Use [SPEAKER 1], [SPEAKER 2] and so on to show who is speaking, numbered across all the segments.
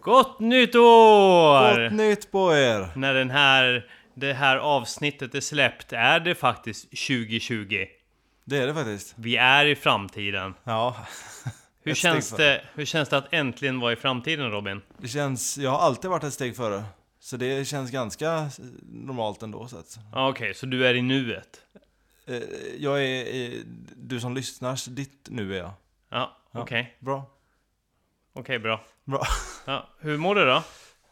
[SPEAKER 1] Gott nytt år!
[SPEAKER 2] Gott nytt på er!
[SPEAKER 1] När den här, det här avsnittet är släppt är det faktiskt 2020.
[SPEAKER 2] Det är det faktiskt.
[SPEAKER 1] Vi är i framtiden.
[SPEAKER 2] Ja.
[SPEAKER 1] Hur
[SPEAKER 2] Ett steg
[SPEAKER 1] känns
[SPEAKER 2] före.
[SPEAKER 1] det, hur känns det att äntligen vara i framtiden Robin?
[SPEAKER 2] Det känns... Jag har alltid varit ett steg före. Så det känns ganska normalt ändå så att...
[SPEAKER 1] Ja, Okej, så du är i nuet?
[SPEAKER 2] Eh, Jag är... eh, Du som lyssnar, ditt nu är jag.
[SPEAKER 1] Ja,
[SPEAKER 2] Ja.
[SPEAKER 1] okej. Okej,
[SPEAKER 2] Bra.
[SPEAKER 1] bra.
[SPEAKER 2] Bra.
[SPEAKER 1] Ja, hur mår du då?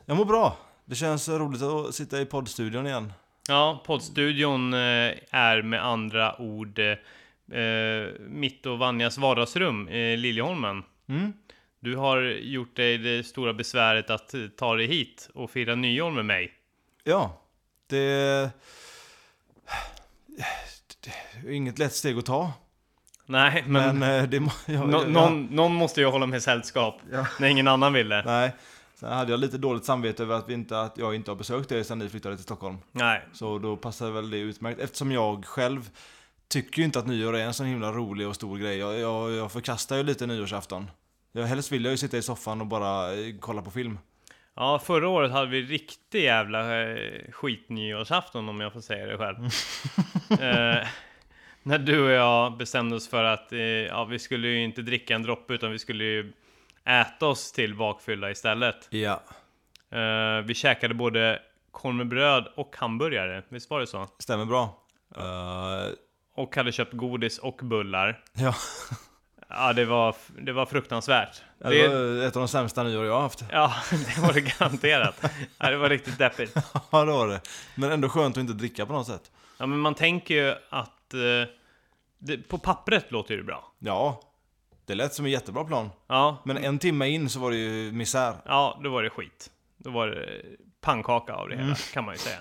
[SPEAKER 2] Jag mår bra. Det känns roligt att sitta i poddstudion igen.
[SPEAKER 1] Ja, poddstudion eh, är med andra ord eh, eh, mitt och Vanjas vardagsrum i Liljeholmen.
[SPEAKER 2] Mm.
[SPEAKER 1] Du har gjort dig det stora besväret att eh, ta dig hit och fira nyår med mig.
[SPEAKER 2] Ja. Det... det är inget lätt steg att ta.
[SPEAKER 1] Nej, men,
[SPEAKER 2] Men, eh, det... må- jag-
[SPEAKER 1] nå-
[SPEAKER 2] jag-
[SPEAKER 1] någon, någon måste ju hålla mig sällskap
[SPEAKER 2] Ja.
[SPEAKER 1] när ingen annan ville. Nej.
[SPEAKER 2] Nej. Sen hade jag lite dåligt samvete över att, vi inte, att jag inte har besökt er sedan ni flyttade till Stockholm. Så då passar väl det utmärkt. Eftersom jag själv tycker ju inte att nyår är en sån himla rolig och stor grej. Jag, jag, jag förkastar ju lite nyårsafton. Jag, helst vill jag ju sitta i soffan och bara eh, kolla på film.
[SPEAKER 1] Ja, förra året hade vi riktig jävla eh, skitnyårsafton om jag får säga det själv. eh, när du och jag bestämde oss för att eh, ja, vi skulle ju inte dricka en droppe utan vi skulle ju äta oss till bakfylla istället.
[SPEAKER 2] Ja.
[SPEAKER 1] Eh, vi käkade både korv med bröd och hamburgare, visst var det så?
[SPEAKER 2] Stämmer bra. Eh,
[SPEAKER 1] Och hade köpt godis och bullar.
[SPEAKER 2] ja.
[SPEAKER 1] Ja, det var, det var fruktansvärt.
[SPEAKER 2] Det
[SPEAKER 1] Det,
[SPEAKER 2] var ett av de sämsta nyår jag har haft.
[SPEAKER 1] ja, det var det garanterat. Ja, det var riktigt deppigt.
[SPEAKER 2] Ja, det var det. Men ändå skönt att inte dricka på något sätt.
[SPEAKER 1] Ja, men man tänker ju att... Eh, det, på pappret låter det bra.
[SPEAKER 2] Ja. Det lät som en jättebra plan.
[SPEAKER 1] Ja,
[SPEAKER 2] Men en timme in så var det ju misär.
[SPEAKER 1] ja, då var det skit. Då var det pannkaka av det hela, kan man ju säga.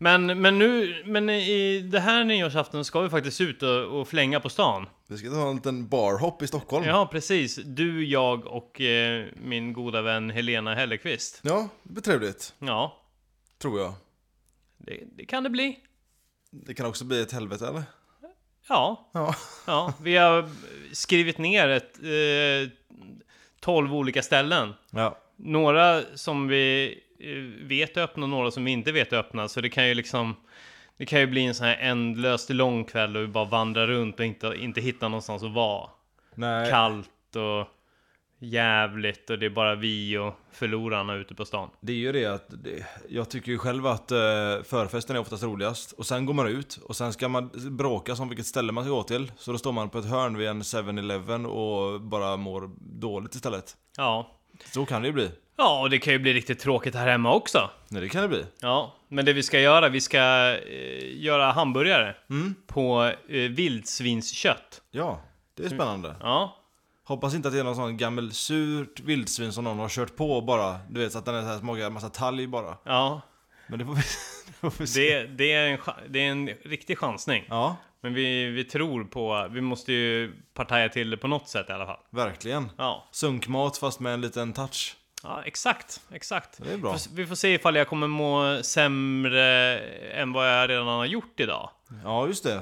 [SPEAKER 1] Men, men nu, men i det här nyårsafton ska vi faktiskt ut och, och flänga på stan.
[SPEAKER 2] Vi ska ta en liten barhopp i Stockholm.
[SPEAKER 1] Ja, precis. Du, jag och eh, min goda vän Helena Hellekvist.
[SPEAKER 2] ja det blir trevligt.
[SPEAKER 1] Ja,
[SPEAKER 2] Tror jag.
[SPEAKER 1] det, det kan det bli.
[SPEAKER 2] Det kan också bli ett helvete eller?
[SPEAKER 1] Ja,
[SPEAKER 2] Ja.
[SPEAKER 1] Ja, vi har skrivit ner ett, eh, 12 olika ställen.
[SPEAKER 2] Ja.
[SPEAKER 1] Några som vi eh, vet är öppna och några som vi inte vet är öppna. Så det kan ju liksom... Det kan ju bli en sån här ändlöst lång kväll och vi bara vandrar runt och inte, inte hittar någonstans att vara.
[SPEAKER 2] Nej.
[SPEAKER 1] Kallt och jävligt och det är bara vi och förlorarna ute på stan.
[SPEAKER 2] Det är ju det att det, jag tycker ju själv att eh, förfesten är oftast roligast. Och sen går man ut och sen ska man bråka om vilket ställe man ska gå till. Så då står man på ett hörn vid en 7-Eleven och bara mår dåligt istället.
[SPEAKER 1] Ja.
[SPEAKER 2] Så kan det ju bli.
[SPEAKER 1] Ja, och det kan ju bli riktigt tråkigt här hemma också.
[SPEAKER 2] Nej det kan det bli.
[SPEAKER 1] Ja, men det vi ska göra, vi ska eh, göra hamburgare
[SPEAKER 2] Mm.
[SPEAKER 1] på eh, vildsvinskött.
[SPEAKER 2] Ja, det är spännande.
[SPEAKER 1] Ja,
[SPEAKER 2] Mm. Hoppas inte att det är någon sån gammel surt vildsvin som någon har kört på bara. Du vet så att den är så här smakar en massa talg bara.
[SPEAKER 1] ja.
[SPEAKER 2] Men det får vi, det får vi se.
[SPEAKER 1] Det, det, är en, cha- det är en riktig chansning.
[SPEAKER 2] Ja,
[SPEAKER 1] Men vi, vi tror på, vi måste ju partaja till det på något sätt i alla fall.
[SPEAKER 2] verkligen.
[SPEAKER 1] Ja,
[SPEAKER 2] Sunkmat fast med en liten touch.
[SPEAKER 1] ja exakt, exakt.
[SPEAKER 2] Det är bra.
[SPEAKER 1] Får- Vi får se ifall jag kommer må sämre än vad jag redan har gjort idag.
[SPEAKER 2] Ja, just det.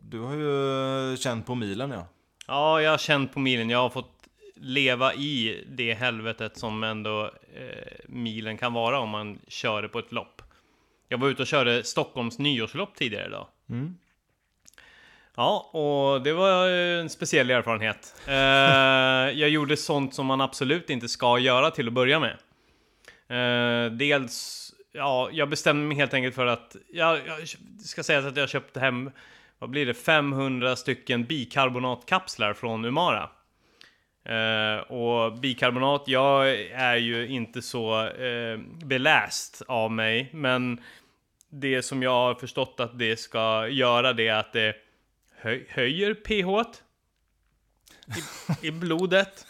[SPEAKER 2] Du har ju eh, känt på milen ja.
[SPEAKER 1] Ja, jag har känt på milen. Jag har fått leva i det helvetet som ändå eh, milen kan vara om man kör det på ett lopp. Jag var ute och körde Stockholms nyårslopp tidigare idag. Ja, och det var eh, en speciell erfarenhet. Eh, jag gjorde sånt som man absolut inte ska göra till att börja med. Eh, dels, ja, jag bestämde mig helt enkelt för att, jag, jag ska säga att jag köpte hem, vad blir det, 500 stycken bikarbonatkapslar från Umara. Eh, och bikarbonat, jag är ju inte så eh, beläst av mig, men det som jag har förstått att det ska göra det är att det höj, höjer pH i, i blodet.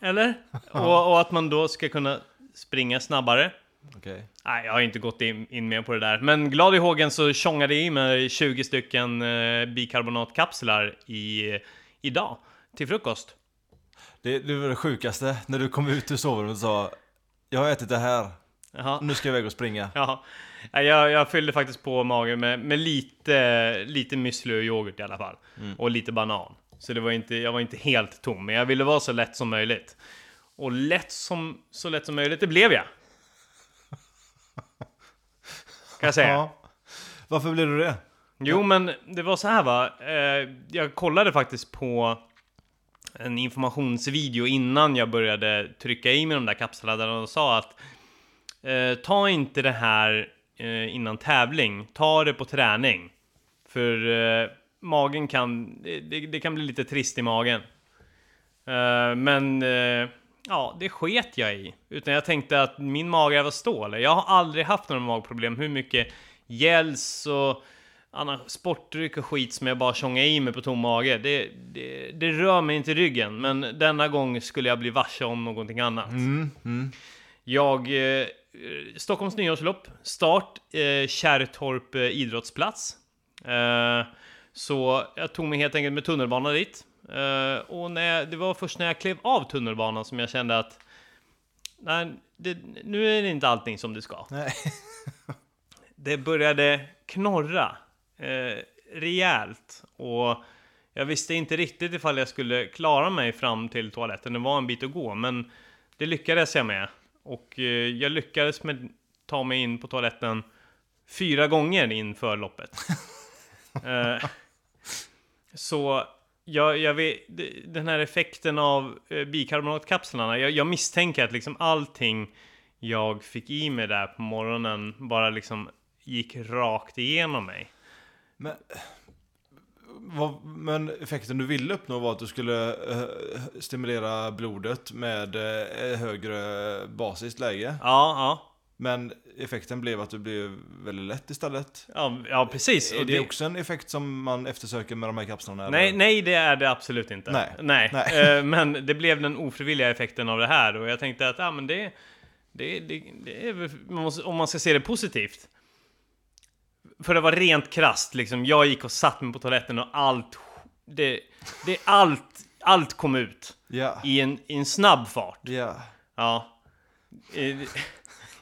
[SPEAKER 1] Eller? Och, och att man då ska kunna springa snabbare.
[SPEAKER 2] Okej.
[SPEAKER 1] Nej, jag har inte gått in, in mer på det där. Men glad i hågen så tjongade jag i mig 20 stycken eh, bikarbonatkapslar i, idag till frukost.
[SPEAKER 2] Det, det var det sjukaste, när du kom ut ur sovrummet och sa Jag har ätit det här,
[SPEAKER 1] Jaha.
[SPEAKER 2] nu ska jag iväg och springa.
[SPEAKER 1] Ja, Nej, jag, jag fyllde faktiskt på magen med, med lite, lite müsli och yoghurt i alla fall. Och lite banan. Så det var inte, jag var inte helt tom, men jag ville vara så lätt som möjligt. Och lätt som, så lätt som möjligt, det blev jag. Kan jag säga.
[SPEAKER 2] Ja. Varför blev du det?
[SPEAKER 1] Jo, men det var så här va. Eh, jag kollade faktiskt på en informationsvideo innan jag började trycka i mig de där kapsladdarna och de sa att eh, ta inte det här eh, innan tävling, ta det på träning. För eh, magen kan, det, det- det kan bli lite trist i magen. Eh, men eh, ja, det sket jag i. Utan jag tänkte att min mage är vad stål. Jag har aldrig haft några magproblem. Hur mycket gels och annan sportdryck och skit som jag bara tjongar i mig på tom mage. Det, det, det rör mig inte i ryggen. Men denna gång skulle jag bli varse om någonting annat.
[SPEAKER 2] Mm, mm.
[SPEAKER 1] Jag... Eh, Stockholms nyårslopp, start eh, Kärrtorp eh, idrottsplats. Eh, så jag tog mig helt enkelt med tunnelbana dit. Eh, och när jag, det var först när jag klev av tunnelbanan som jag kände att nej, det, nu är det inte allting som det ska.
[SPEAKER 2] Nej.
[SPEAKER 1] Det började knorra eh, rejält och jag visste inte riktigt ifall jag skulle klara mig fram till toaletten. Det var en bit att gå, men det lyckades jag med. Och eh, jag lyckades med ta mig in på toaletten fyra gånger inför loppet. eh, så jag, jag vet, d- den här effekten av eh, bikarbonatkapslarna, jag, jag misstänker att liksom allting jag fick i mig där på morgonen bara liksom gick rakt igenom mig.
[SPEAKER 2] Men, vad, men effekten du ville uppnå var att du skulle eh, stimulera blodet med eh, högre basiskt läge.
[SPEAKER 1] Ja, ja.
[SPEAKER 2] Men effekten blev att du blev väldigt lätt istället.
[SPEAKER 1] Ja, ja precis.
[SPEAKER 2] Är
[SPEAKER 1] Och
[SPEAKER 2] det,
[SPEAKER 1] Eh, det-
[SPEAKER 2] också en effekt som man eftersöker med de här kapslarna?
[SPEAKER 1] Nej,
[SPEAKER 2] eller?
[SPEAKER 1] nej, det är det absolut inte.
[SPEAKER 2] Nej.
[SPEAKER 1] nej.
[SPEAKER 2] Nej.
[SPEAKER 1] Eh, men det blev den ofrivilliga effekten av det här och jag tänkte att ah, men det, det, det, det är, väl- man måste, om man ska se det positivt. För det var rent krasst, liksom, jag gick och satt mig på toaletten och allt, det, det, allt, allt kom ut
[SPEAKER 2] Ja.
[SPEAKER 1] i en, i en snabb fart.
[SPEAKER 2] ja.
[SPEAKER 1] Ja. Eh,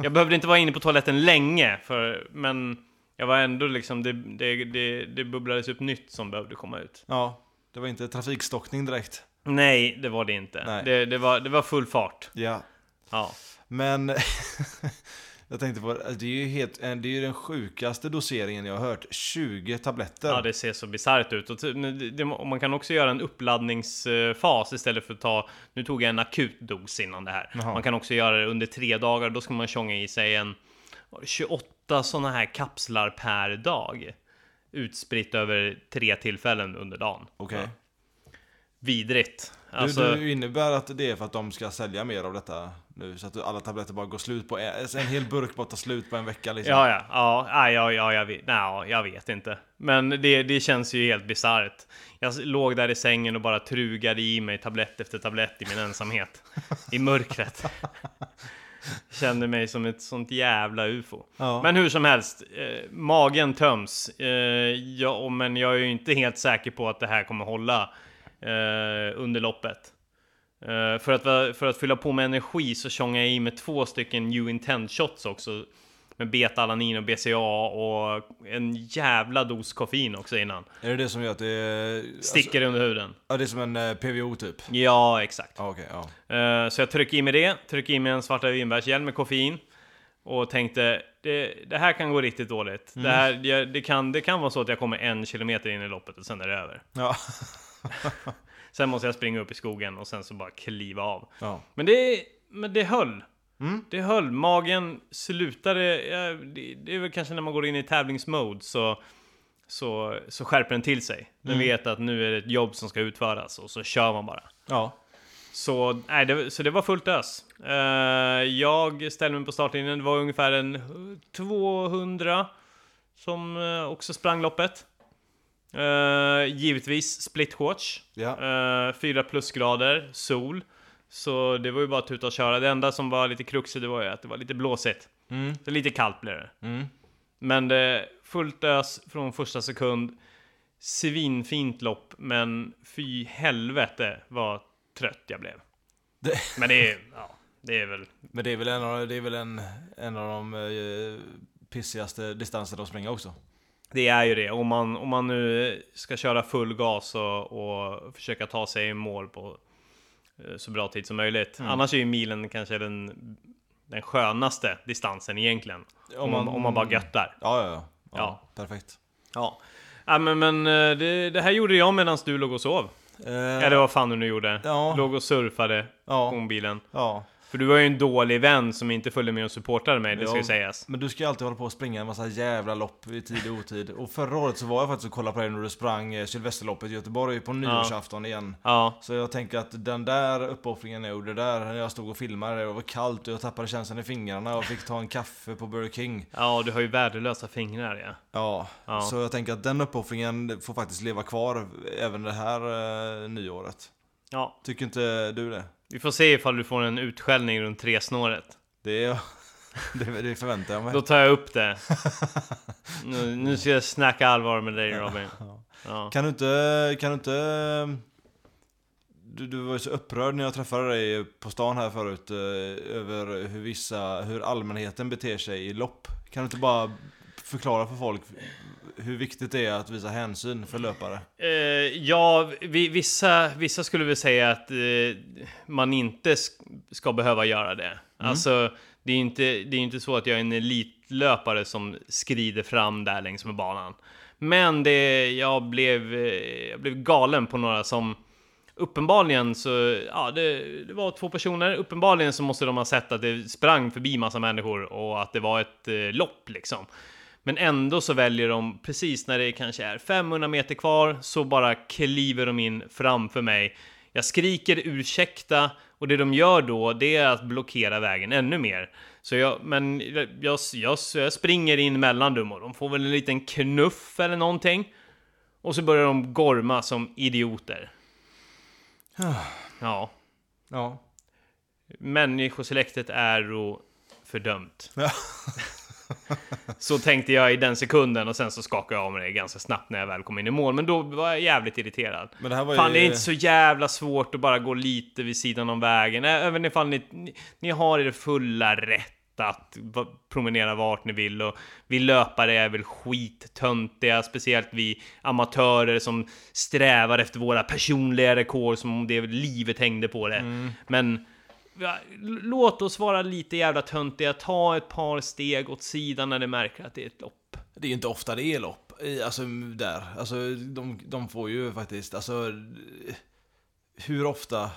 [SPEAKER 1] Jag behövde inte vara inne på toaletten länge, för, men jag var ändå liksom, det, det, det, det bubblades upp nytt som behövde komma ut.
[SPEAKER 2] Ja. Det var inte trafikstockning direkt.
[SPEAKER 1] Nej, det var det inte.
[SPEAKER 2] Nej.
[SPEAKER 1] Det, det, var, det var full fart.
[SPEAKER 2] Ja.
[SPEAKER 1] Ja.
[SPEAKER 2] Men jag tänkte på, det är ju helt, eh, det är ju den sjukaste doseringen jag har hört. 20 tabletter.
[SPEAKER 1] ja, det ser så bisarrt ut. Och, ty- men det, det, och man kan också göra en uppladdningsfas istället för att ta... Nu tog jag en akut dos innan det här.
[SPEAKER 2] Jaha.
[SPEAKER 1] Man kan också göra det under tre dagar. Då ska man tjonga i sig en 28 sådana här kapslar per dag. Utspritt över tre tillfällen under dagen.
[SPEAKER 2] Okej.
[SPEAKER 1] Ja. Vidrigt.
[SPEAKER 2] Du,
[SPEAKER 1] Alltså,
[SPEAKER 2] du innebär att det är för att de ska sälja mer av detta nu? Så att alla tabletter bara går slut på en, alltså en hel burk bara tar slut på en vecka liksom?
[SPEAKER 1] Ja, ja, ja, ja, ja, ja, jag, vet, nej, jag vet inte. Men det, det känns ju helt bisarrt. Jag s- låg där i sängen och bara trugade i mig tablett efter tablett i min ensamhet. I mörkret. Kände mig som ett sånt jävla ufo.
[SPEAKER 2] Ja.
[SPEAKER 1] Men hur som helst, eh, magen töms. Eh, ja, och- men jag är ju inte helt säker på att det här kommer hålla eh, under loppet. Eh, för, att, va- för att fylla på med energi så tjongade jag i med två stycken New Intent shots också. Med beta-alanin och BCA och en jävla dos koffein också innan.
[SPEAKER 2] Är det det som gör att det... Alltså,
[SPEAKER 1] Sticker under huden.
[SPEAKER 2] ja, det är som en eh, PVO typ?
[SPEAKER 1] Ja, exakt.
[SPEAKER 2] Ja, okej. ja.
[SPEAKER 1] Eh, så jag tryckte i mig det, tryckte i mig en svarta vinbärsgel med koffein. Och tänkte, det, det här kan gå riktigt dåligt. Det, här, det, det, kan, det kan vara så att jag kommer en kilometer in i loppet och sen är det över.
[SPEAKER 2] Ja.
[SPEAKER 1] Sen måste jag springa upp i skogen och sen så bara kliva av.
[SPEAKER 2] ja.
[SPEAKER 1] Men det, men det höll.
[SPEAKER 2] Mm.
[SPEAKER 1] Det höll. Magen slutade... Ja, det, det är väl kanske när man går in i tävlingsmode så, så, så skärper den till sig. Den vet att nu är det ett jobb som ska utföras och så kör man bara.
[SPEAKER 2] Ja.
[SPEAKER 1] Så, nej, det, så det var fullt ös. Eh, jag ställde mig på startlinjen. Det var ungefär en hu- 200 som eh, också sprang loppet. Eh, givetvis split shorts.
[SPEAKER 2] Ja.
[SPEAKER 1] Eh, fyra plusgrader, sol. Så det var ju bara att tuta och köra. Det enda som var lite kruxigt det var ju att det var lite blåsigt.
[SPEAKER 2] Mm.
[SPEAKER 1] Så lite kallt blev det.
[SPEAKER 2] Mm.
[SPEAKER 1] Men det fullt ös från första sekund. Svinfint lopp, men fy helvete vad trött jag blev.
[SPEAKER 2] Det-
[SPEAKER 1] Men det är, ja, det är väl...
[SPEAKER 2] Men det är väl en av, det är väl en, en av de eh, pissigaste distanserna att springa också?
[SPEAKER 1] Det är ju det. Om man, om man nu ska köra full gas och, och försöka ta sig i mål på eh, så bra tid som möjligt. Annars är ju milen kanske den, den skönaste distansen egentligen. Om man, om man bara göttar.
[SPEAKER 2] Ja, ja, ja. ja,
[SPEAKER 1] Ja.
[SPEAKER 2] Perfekt.
[SPEAKER 1] Ja. Ja, men, men eh, det, det här gjorde jag medan du låg och sov. Eller vad fan du nu gjorde.
[SPEAKER 2] Eh, Ja.
[SPEAKER 1] Låg och surfade
[SPEAKER 2] Ja.
[SPEAKER 1] om bilen.
[SPEAKER 2] Ja.
[SPEAKER 1] För du var ju en dålig vän som inte följde med och supportade mig, det ska ju
[SPEAKER 2] Ja,
[SPEAKER 1] sägas.
[SPEAKER 2] Men du ska ju alltid hålla på och springa en massa jävla lopp i tid och otid. Och förra året så var jag faktiskt och kollade på dig när du sprang eh, Sylvesterloppet i Göteborg på nyårsafton igen.
[SPEAKER 1] Ja.
[SPEAKER 2] Så jag tänker att den där uppoffringen jag gjorde där, när jag stod och filmade, det var kallt och jag tappade känslan i fingrarna och fick ta en kaffe på Burger King.
[SPEAKER 1] Ja, du har ju värdelösa fingrar ja.
[SPEAKER 2] Ja,
[SPEAKER 1] Ja.
[SPEAKER 2] så jag tänker att den uppoffringen får faktiskt leva kvar även det här eh, nyåret.
[SPEAKER 1] Ja,
[SPEAKER 2] Tycker inte du det?
[SPEAKER 1] vi får se ifall du får en utskällning runt tresnåret.
[SPEAKER 2] Det, är, det, det förväntar jag mig.
[SPEAKER 1] Då tar jag upp det. Nu, nu ska jag snacka allvar med dig Robin. Ja.
[SPEAKER 2] Kan du inte, kan du inte... Du, du var ju så upprörd när jag träffade dig på stan här förut eh, över hur vissa, hur allmänheten beter sig i lopp. Kan du inte bara förklara för folk hur viktigt det är att visa hänsyn för löpare?
[SPEAKER 1] Eh, ja, vi, vissa, vissa skulle väl säga att eh, man inte sk- ska behöva göra det. Alltså, det är ju inte, det är inte så att jag är en elitlöpare som skrider fram där längs med banan. Men det, jag, blev, eh, jag blev galen på några som uppenbarligen så, ja det, det var två personer, uppenbarligen så måste de ha sett att det sprang förbi massa människor och att det var ett eh, lopp liksom. Men ändå så väljer de, precis när det kanske är 500 meter kvar, så bara kliver de in framför mig. Jag skriker ursäkta och det de gör då, det är att blockera vägen ännu mer. Så jag, men jag, jag, jag, jag springer in mellan dem och de får väl en liten knuff eller någonting. Och så börjar de gorma som idioter. Ja,
[SPEAKER 2] Ja.
[SPEAKER 1] människosläktet är och fördömt. så tänkte jag i den sekunden och sen så skakade jag av mig det ganska snabbt när jag väl kom in i mål. Men då var jag jävligt irriterad.
[SPEAKER 2] Men det här var ju...
[SPEAKER 1] Fan, det är inte så jävla svårt att bara gå lite vid sidan om vägen. Ä- Även ifall ni, ni, ni har er fulla rätt att va- promenera vart ni vill och vi löpare är väl skittöntiga, speciellt vi amatörer som strävar efter våra personliga rekord som om det livet hängde på det.
[SPEAKER 2] Mm.
[SPEAKER 1] Men ja, l- låt oss vara lite jävla töntiga, ta ett par steg åt sidan när ni märker att det är ett lopp.
[SPEAKER 2] Det är ju inte ofta det är lopp. i- Alltså där. Alltså de, de får ju faktiskt, alltså... Hur ofta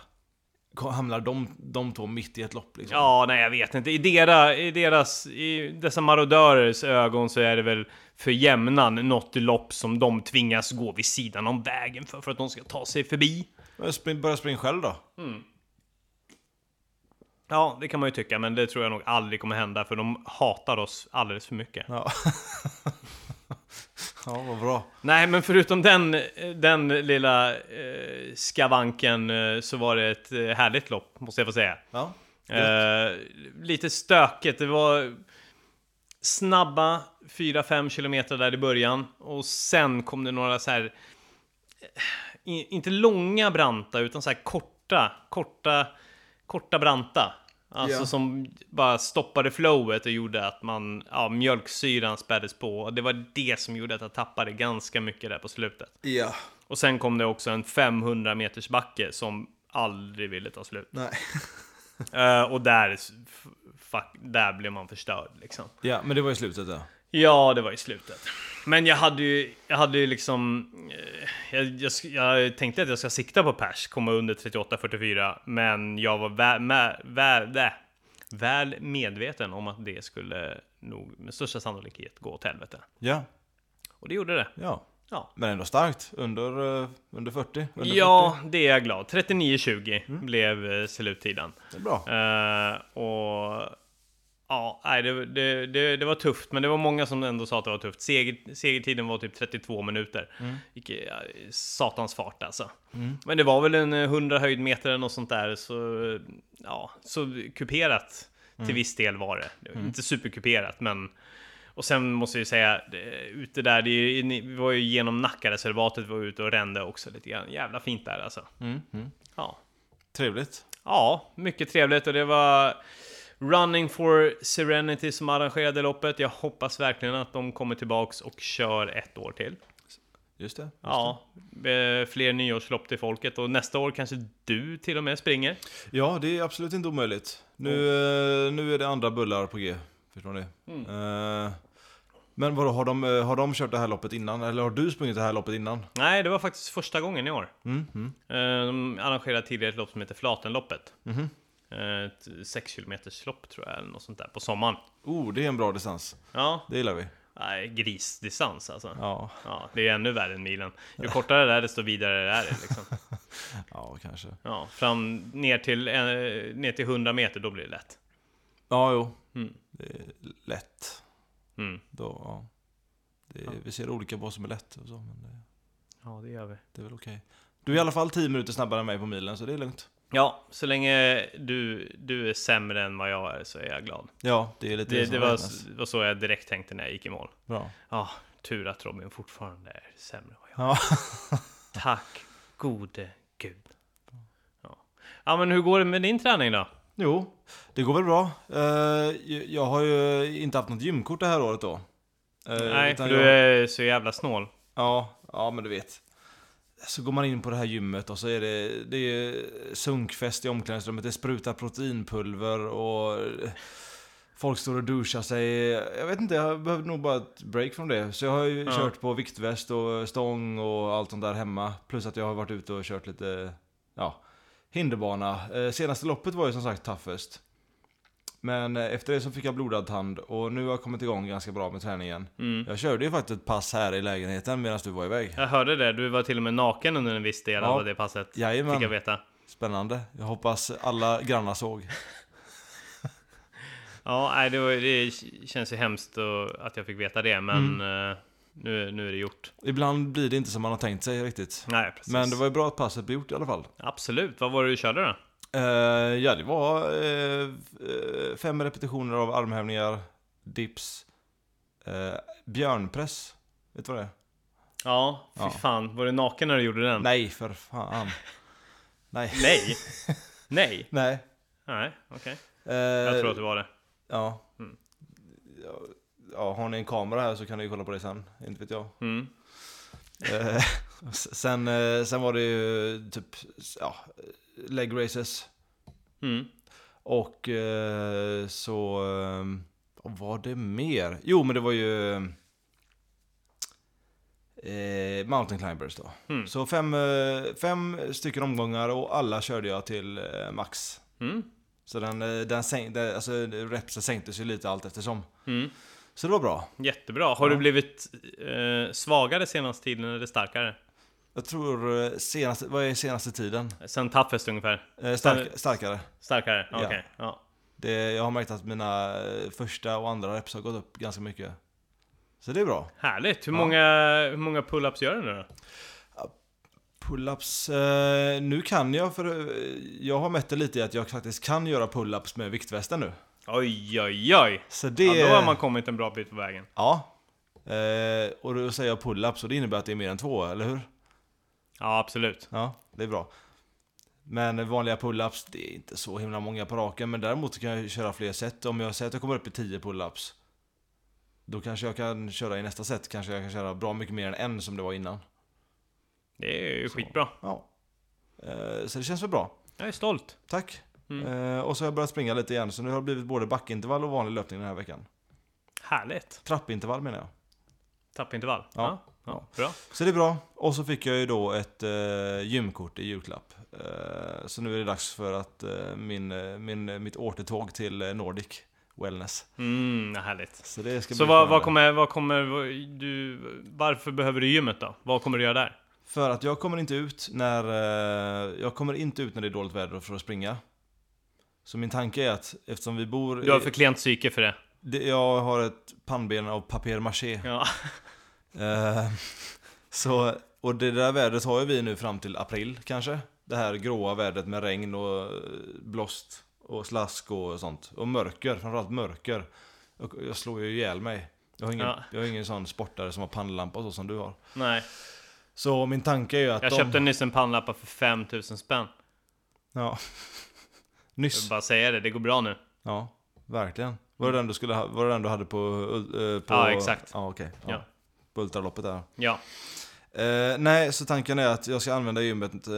[SPEAKER 2] hamnar de, de två mitt i ett lopp liksom?
[SPEAKER 1] Ja, nej jag vet inte. I, dera, i, deras, I dessa marodörers ögon så är det väl för jämnan något lopp som de tvingas gå vid sidan om vägen för, för att de ska ta sig förbi.
[SPEAKER 2] Men spring- Börja springa själv då.
[SPEAKER 1] Mm. Ja, det kan man ju tycka, men det tror jag nog aldrig kommer hända för de hatar oss alldeles för mycket.
[SPEAKER 2] Ja. ja, vad bra.
[SPEAKER 1] Nej, men förutom den, den lilla eh, skavanken eh, så var det ett eh, härligt lopp, måste jag få säga.
[SPEAKER 2] Ja.
[SPEAKER 1] Eh, lite stökigt. Det var snabba 4-5 kilometer där i början och sen kom det några så här eh, i- inte långa branta utan så här korta, korta, korta branta. Alltså
[SPEAKER 2] Ja.
[SPEAKER 1] som bara stoppade flowet och gjorde att man, ja, mjölksyran späddes på. Och det var det som gjorde att jag tappade ganska mycket där på slutet.
[SPEAKER 2] Ja.
[SPEAKER 1] Och sen kom det också en 500 meters backe som aldrig ville ta slut.
[SPEAKER 2] Nej.
[SPEAKER 1] Eh, och där, s- f- fuck, där blev man förstörd liksom.
[SPEAKER 2] Ja, men det var ju slutet där.
[SPEAKER 1] Ja, det var i slutet. Men jag hade ju, jag hade ju liksom... eh, Jag, jag, sk- jag tänkte att jag ska sikta på pers, komma under 38-44, men jag var väl, mä- väl, väl, väl medveten om att det skulle nog med största sannolikhet gå åt helvete.
[SPEAKER 2] Ja.
[SPEAKER 1] Och det gjorde det.
[SPEAKER 2] Ja.
[SPEAKER 1] Ja.
[SPEAKER 2] Men ändå starkt. Under, eh, under 40. Under
[SPEAKER 1] Ja, det är jag glad. 39-20 blev eh, sluttiden.
[SPEAKER 2] 40. Det är bra.
[SPEAKER 1] Eh, och ja, nej, det, det, det, det var tufft, men det var många som ändå sa att det var tufft. Seger, segertiden var typ 32 minuter.
[SPEAKER 2] Mm.
[SPEAKER 1] Vilket, ja, satans fart alltså. Men det var väl en eh, 100 höjdmeter eller något sånt där, så eh, ja, så kuperat
[SPEAKER 2] Mm.
[SPEAKER 1] till viss del var det. det var Inte superkuperat, men och sen måste jag ju säga, det, ute där, det, är ju- ni- vi var ju genom Nackareservatet, vi var ute och rände också lite grann. Jävla fint där alltså.
[SPEAKER 2] Mm. Mm.
[SPEAKER 1] Ja.
[SPEAKER 2] Trevligt.
[SPEAKER 1] Ja, mycket trevligt och det var Running for Serenity som arrangerade loppet. Jag hoppas verkligen att de kommer tillbaks och kör ett år till.
[SPEAKER 2] Just det. Just
[SPEAKER 1] Ja, eh, fler nyårslopp till folket och nästa år kanske du till och med springer.
[SPEAKER 2] det. ja, det är absolut inte omöjligt. Nu, eh, nu är det andra bullar på G. Förstår ni?
[SPEAKER 1] Mm.
[SPEAKER 2] Eh, men vadå, har de, eh, har de kört det här loppet innan? Eller har du sprungit det här loppet innan?
[SPEAKER 1] Nej, det var faktiskt första gången i år.
[SPEAKER 2] Mm, mm.
[SPEAKER 1] Eh, De arrangerade tidigare ett lopp som heter Flatenloppet.
[SPEAKER 2] Mhm.
[SPEAKER 1] Eh, Ett 6 km lopp tror jag, eller något sånt där, på sommaren.
[SPEAKER 2] Oh, det är en bra distans.
[SPEAKER 1] Ja,
[SPEAKER 2] Det gillar vi.
[SPEAKER 1] nej, grisdistans alltså.
[SPEAKER 2] Ja,
[SPEAKER 1] Ja, det är ännu värre än milen. Ju kortare det är, desto vidare är det. Liksom.
[SPEAKER 2] ja kanske.
[SPEAKER 1] Ja, fram ner till, eh, ner till 100 meter, då blir det lätt.
[SPEAKER 2] Ja, jo.
[SPEAKER 1] Mm.
[SPEAKER 2] Det är lätt.
[SPEAKER 1] Mm.
[SPEAKER 2] Då, ja. det är, Vi ser olika på vad som är lätt och så, men det,
[SPEAKER 1] Ja, det gör vi.
[SPEAKER 2] det är väl okej. Du är i alla fall 10 minuter snabbare än mig på milen, så det är lugnt.
[SPEAKER 1] Ja, så länge du, du är sämre än vad jag är så är jag glad.
[SPEAKER 2] Ja, det är lite
[SPEAKER 1] Det,
[SPEAKER 2] som
[SPEAKER 1] det var,
[SPEAKER 2] räknas.
[SPEAKER 1] var så jag direkt tänkte när jag gick i mål.
[SPEAKER 2] Bra.
[SPEAKER 1] Ja, tur att Robin fortfarande är sämre än vad jag
[SPEAKER 2] Ja.
[SPEAKER 1] är. Tack gode gud. Ja. ja, men hur går det med din träning då?
[SPEAKER 2] Jo, det går väl bra. Eh, jag har ju inte haft något gymkort det här året då. Eh,
[SPEAKER 1] Nej,
[SPEAKER 2] utan
[SPEAKER 1] för du
[SPEAKER 2] jag-
[SPEAKER 1] är så jävla snål.
[SPEAKER 2] Ja, ja men du vet. Så går man in på det här gymmet och så är det, det är sunkfest i omklädningsrummet. Det sprutar proteinpulver och folk står och duschar sig. Jag vet inte, jag behövde nog bara ett break från det. Så jag har ju
[SPEAKER 1] Ja.
[SPEAKER 2] kört på viktväst och stång och allt sånt där hemma. Plus att jag har varit ute och kört lite, ja, hinderbana. Eh, Senaste loppet var ju som sagt toughest. Men eh, efter det så fick jag blodad tand och nu har jag kommit igång ganska bra med träningen.
[SPEAKER 1] Mm.
[SPEAKER 2] Jag körde ju faktiskt ett pass här i lägenheten medan du var iväg.
[SPEAKER 1] Jag hörde det, du var till och med naken under en viss del
[SPEAKER 2] Ja.
[SPEAKER 1] av det passet. Fick jag
[SPEAKER 2] Jajamän,
[SPEAKER 1] veta.
[SPEAKER 2] spännande. Jag hoppas alla grannar såg.
[SPEAKER 1] Ja, nej, det, var, det känns ju hemskt och, att jag fick veta det, men eh, nu, nu är det gjort.
[SPEAKER 2] Ibland blir det inte som man har tänkt sig riktigt.
[SPEAKER 1] Nej, precis.
[SPEAKER 2] Men det var ju bra att passet blev gjort i alla fall.
[SPEAKER 1] Absolut, vad var det du körde då?
[SPEAKER 2] Eh, ja, det var eh, eh, fem repetitioner av armhävningar, dips, eh, björnpress. Vet du vad det är?
[SPEAKER 1] Ja, fy
[SPEAKER 2] Ja.
[SPEAKER 1] fan. Var du naken när du gjorde den?
[SPEAKER 2] Nej, för fan. Nej.
[SPEAKER 1] Nej! Nej?
[SPEAKER 2] Nej.
[SPEAKER 1] Nej, okej.
[SPEAKER 2] Eh,
[SPEAKER 1] Jag tror att det var det.
[SPEAKER 2] Ja.
[SPEAKER 1] Mm.
[SPEAKER 2] Ja, ja. Har ni en kamera här så kan ni ju kolla på det sen. Inte vet jag.
[SPEAKER 1] Mm.
[SPEAKER 2] Eh, s- sen, eh, sen var det ju typ s- ja, leg races.
[SPEAKER 1] Mm.
[SPEAKER 2] Och eh, så... eh, Vad var det mer? Jo, men det var ju... Eh, mountain climbers då.
[SPEAKER 1] Mm.
[SPEAKER 2] Så fem, eh, fem stycken omgångar och alla körde jag till eh, max.
[SPEAKER 1] Mm.
[SPEAKER 2] Så den, eh, den, sänk, den alltså, repsen sänktes ju lite allt eftersom.
[SPEAKER 1] Mm.
[SPEAKER 2] Så det var bra.
[SPEAKER 1] Jättebra. Har
[SPEAKER 2] Ja.
[SPEAKER 1] du blivit eh, svagare senaste tiden eller starkare?
[SPEAKER 2] Jag tror eh, senaste, vad är senaste tiden?
[SPEAKER 1] Sen Toughest ungefär?
[SPEAKER 2] Eh, stark, starkare.
[SPEAKER 1] Starkare?
[SPEAKER 2] Ja.
[SPEAKER 1] Okej. Ja.
[SPEAKER 2] Det, jag har märkt att mina eh, första och andra reps har gått upp ganska mycket. Så det är bra.
[SPEAKER 1] Härligt. Hur
[SPEAKER 2] Ja.
[SPEAKER 1] många, hur många pull-ups gör du nu då?
[SPEAKER 2] Pull-ups, eh, nu kan jag för eh, jag har mätt det lite i att jag faktiskt kan göra pull-ups med viktvästen nu.
[SPEAKER 1] Oj, oj, oj!
[SPEAKER 2] Så det...
[SPEAKER 1] Ja, då har man kommit en bra bit på vägen.
[SPEAKER 2] Ja. Eh, och då säger jag pull-ups och det innebär att det är mer än två, eller hur?
[SPEAKER 1] Ja, absolut.
[SPEAKER 2] Ja, det är bra. Men vanliga pull-ups, det är inte så himla många på raken. Men däremot så kan jag köra fler set. Om jag säger att jag kommer upp i 10 pull-ups. Då kanske jag kan köra i nästa set, kanske jag kan köra bra mycket mer än en som det var innan.
[SPEAKER 1] Det är ju
[SPEAKER 2] Så.
[SPEAKER 1] skitbra.
[SPEAKER 2] Ja. Eh, Så det känns väl bra.
[SPEAKER 1] Jag är stolt.
[SPEAKER 2] Tack.
[SPEAKER 1] Mm.
[SPEAKER 2] Eh, Och så har jag börjat springa lite igen, så nu har det blivit både backintervall och vanlig löpning den här veckan.
[SPEAKER 1] Härligt.
[SPEAKER 2] Trappintervall menar jag.
[SPEAKER 1] Tappintervall.
[SPEAKER 2] Ja.
[SPEAKER 1] Ja. ja. Bra.
[SPEAKER 2] Så det är bra. Och så fick jag ju då ett eh, gymkort i julklapp. Eh, så nu är det dags för att eh, min, eh, min, eh, mitt återtåg till eh, Nordic Wellness.
[SPEAKER 1] Mm, härligt.
[SPEAKER 2] Så det ska
[SPEAKER 1] Så
[SPEAKER 2] bli
[SPEAKER 1] vad, vad
[SPEAKER 2] spännande.
[SPEAKER 1] kommer, vad kommer du, varför behöver du gymmet då? Vad kommer du göra där?
[SPEAKER 2] För att jag kommer inte ut när eh, jag kommer inte ut när det är dåligt väder för att springa. Så min tanke är att eftersom vi bor...
[SPEAKER 1] Du har
[SPEAKER 2] i-
[SPEAKER 1] för klent psyke för det.
[SPEAKER 2] det, jag har ett pannben av papier-maché.
[SPEAKER 1] Ja.
[SPEAKER 2] Eh, så, och det där vädret har ju vi nu fram till april kanske. Det här gråa vädret med regn och eh, blåst och slask och sånt. Och mörker, framförallt mörker. Jag, jag slår ju ihjäl mig. Jag har ingen,
[SPEAKER 1] Ja.
[SPEAKER 2] jag har ingen sån sportare som har pannlampa och så som du har.
[SPEAKER 1] Nej.
[SPEAKER 2] Så min tanke är ju att
[SPEAKER 1] Jag
[SPEAKER 2] de...
[SPEAKER 1] köpte nyss en pannlampa för 5000 spänn.
[SPEAKER 2] Ja.
[SPEAKER 1] Jag vill
[SPEAKER 2] Nyss.
[SPEAKER 1] bara säga det, det går bra nu.
[SPEAKER 2] Ja, verkligen. Var det den du, skulle ha, var det den du hade på... eh, på
[SPEAKER 1] Ja, exakt.
[SPEAKER 2] Ja, okej. Ja.
[SPEAKER 1] Ja.
[SPEAKER 2] På Ultraloppet där.
[SPEAKER 1] Ja.
[SPEAKER 2] Eh, Eh, nej, så tanken är att jag ska använda gymmet eh,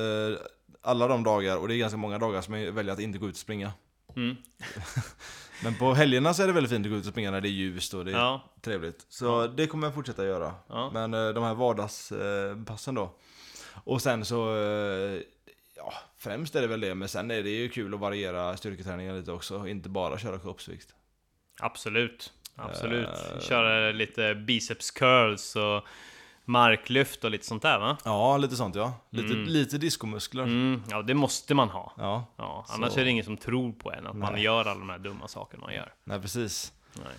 [SPEAKER 2] alla de dagar, och det är ganska många dagar som jag väljer att inte gå ut och springa.
[SPEAKER 1] Mm.
[SPEAKER 2] Men på helgerna så är det väldigt fint att gå ut och springa när det är ljust och det är
[SPEAKER 1] Ja,
[SPEAKER 2] trevligt. Så det kommer jag fortsätta göra.
[SPEAKER 1] ja.
[SPEAKER 2] Men eh, de här vardagspassen då. Och sen så, eh, ja, främst är det väl det. Men sen är det ju kul att variera styrketräningen lite också. Inte bara köra kroppsvikt.
[SPEAKER 1] absolut. Absolut.
[SPEAKER 2] Eh.
[SPEAKER 1] Köra lite biceps curls och marklyft och lite sånt där va?
[SPEAKER 2] Ja, lite sånt ja. Lite,
[SPEAKER 1] Mm.
[SPEAKER 2] lite diskomuskler.
[SPEAKER 1] Mm, ja, det måste man ha.
[SPEAKER 2] Ja,
[SPEAKER 1] Ja,
[SPEAKER 2] Så.
[SPEAKER 1] annars är det ingen som tror på en att man
[SPEAKER 2] Nej.
[SPEAKER 1] gör alla de här dumma sakerna man gör.
[SPEAKER 2] nej precis.
[SPEAKER 1] Nej.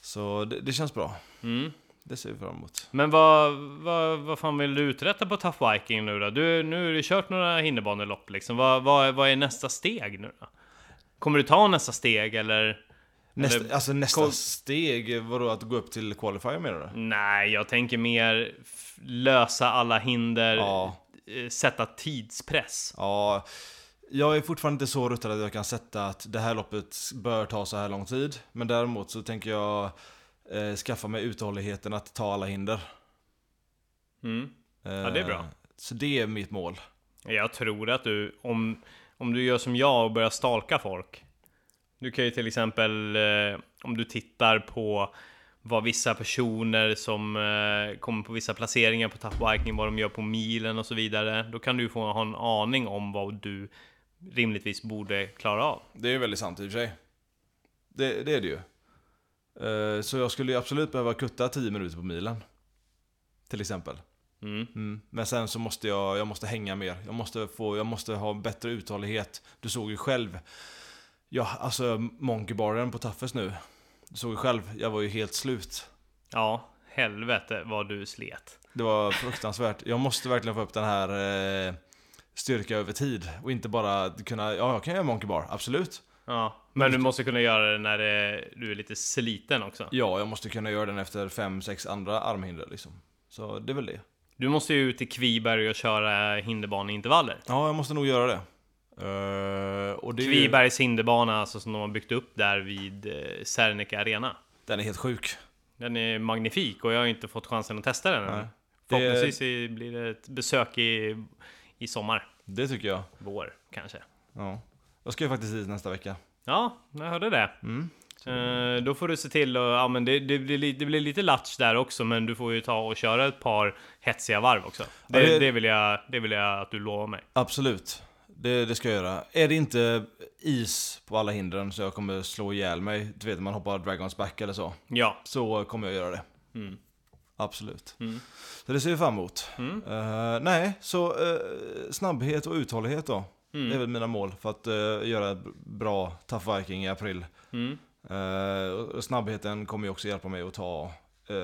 [SPEAKER 2] Så det, det känns bra.
[SPEAKER 1] Mm.
[SPEAKER 2] Det ser vi fram emot.
[SPEAKER 1] Men vad, vad, vad fan vill du uträtta på Tough Viking nu då? Du, nu har du kört några hinderbanelopp liksom. Vad, vad, vad är nästa steg nu då? Kommer du ta nästa steg eller?
[SPEAKER 2] Nästa,
[SPEAKER 1] Eller-
[SPEAKER 2] alltså nästa
[SPEAKER 1] Kol-
[SPEAKER 2] steg, vadå att gå upp till qualifier menar du?
[SPEAKER 1] Nej, jag tänker mer f- lösa alla hinder,
[SPEAKER 2] Ja.
[SPEAKER 1] eh, sätta tidspress.
[SPEAKER 2] Ja, jag är fortfarande inte så ruttad att jag kan sätta att det här loppet bör ta så här lång tid. Men däremot så tänker jag eh, skaffa mig uthålligheten att ta alla hinder.
[SPEAKER 1] Mm.
[SPEAKER 2] Eh,
[SPEAKER 1] det är bra.
[SPEAKER 2] Så det är mitt mål.
[SPEAKER 1] Jag tror att du, om, om du gör som jag och börjar stalka folk. Du kan ju till exempel, eh, om du tittar på vad vissa personer som eh, kommer på vissa placeringar på Tough Viking, vad de gör på milen och så vidare. Då kan du få ha en aning om vad du rimligtvis borde klara av.
[SPEAKER 2] Det är ju väldigt sant i och för sig. Det, det är det ju. Eh, så jag skulle ju absolut behöva kutta 10 minuter på milen. Till exempel.
[SPEAKER 1] Mm.
[SPEAKER 2] Mm. Men sen så måste jag, jag måste hänga mer. Jag måste, få, jag måste ha bättre uthållighet. Du såg ju själv. Ja, alltså monkeybaren på Taffes nu. Du såg ju själv, jag var ju helt slut.
[SPEAKER 1] Ja, helvete vad du slet.
[SPEAKER 2] Det var fruktansvärt. Jag måste verkligen få upp den här eh, styrka över tid. Och inte bara kunna, ja jag kan göra monkeybar, absolut.
[SPEAKER 1] Ja, men du måste kunna göra det när det, du är lite sliten också.
[SPEAKER 2] Ja, jag måste kunna göra den efter fem, sex andra armhinder liksom. Så det är väl det.
[SPEAKER 1] Du måste ju ut till Kviberg och köra hinderbaneintervaller.
[SPEAKER 2] Ja, jag måste nog göra det. Eh, och det är ju,
[SPEAKER 1] Kvibergs hinderbana alltså, som de har byggt upp där vid eh, Serneke Arena.
[SPEAKER 2] den är helt sjuk.
[SPEAKER 1] Den är magnifik och jag har inte fått chansen att testa den
[SPEAKER 2] Nej.
[SPEAKER 1] än.
[SPEAKER 2] Det-
[SPEAKER 1] Förhoppningsvis i- blir det ett besök i, i sommar,
[SPEAKER 2] Det tycker jag.
[SPEAKER 1] vår kanske.
[SPEAKER 2] Ja. Jag ska ju faktiskt hit nästa vecka.
[SPEAKER 1] Ja, jag hörde det.
[SPEAKER 2] Mm.
[SPEAKER 1] Eh, då får du se till att, ja men det, det, blir, li- det blir lite latch där också men du får ju ta och köra ett par hetsiga varv också. Det,
[SPEAKER 2] Ja, det-
[SPEAKER 1] det... vill, jag, det vill jag att du lovar mig.
[SPEAKER 2] Absolut. Det, det ska jag göra. Är det inte is på alla hindren så jag kommer slå ihjäl mig, du vet man hoppar Dragons back eller så,
[SPEAKER 1] Ja.
[SPEAKER 2] så kommer jag göra det.
[SPEAKER 1] Mm.
[SPEAKER 2] Absolut.
[SPEAKER 1] Mm.
[SPEAKER 2] Så det ser vi fram emot.
[SPEAKER 1] Mm.
[SPEAKER 2] Eh, nej, så eh, snabbhet och uthållighet då. Det är
[SPEAKER 1] Mm.
[SPEAKER 2] väl mina mål för att eh, göra ett bra Tough Viking i april.
[SPEAKER 1] Mm.
[SPEAKER 2] Eh, och- och snabbheten kommer ju också hjälpa mig att ta eh,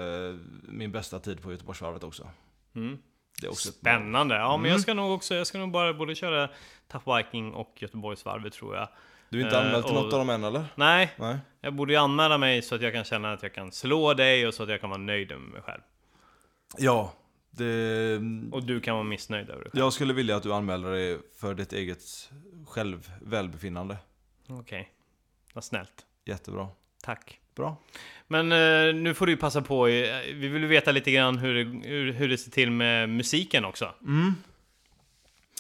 [SPEAKER 2] min bästa tid på Göteborgsvarvet också.
[SPEAKER 1] Mm.
[SPEAKER 2] Det är också ett mål.
[SPEAKER 1] Spännande! Ja, men
[SPEAKER 2] Mm.
[SPEAKER 1] jag ska nog också, jag ska nog bara både köra Tough Viking och Göteborgsvarvet tror jag.
[SPEAKER 2] Du är inte
[SPEAKER 1] Eh,
[SPEAKER 2] anmäld till
[SPEAKER 1] och-
[SPEAKER 2] något av dem än eller?
[SPEAKER 1] Nej,
[SPEAKER 2] Nej.
[SPEAKER 1] jag borde ju anmäla mig så att jag kan känna att jag kan slå dig och så att jag kan vara nöjd med mig själv.
[SPEAKER 2] Ja, det...
[SPEAKER 1] Och du kan vara missnöjd över det själv.
[SPEAKER 2] Jag skulle vilja att du anmäler dig för ditt eget själv välbefinnande. Mm.
[SPEAKER 1] Okej, vad snällt.
[SPEAKER 2] Jättebra.
[SPEAKER 1] Tack.
[SPEAKER 2] Bra.
[SPEAKER 1] Men eh, nu får du ju passa på, eh, vi vill ju veta lite grann hur det, hur, hur det ser till med musiken också.
[SPEAKER 2] Mm.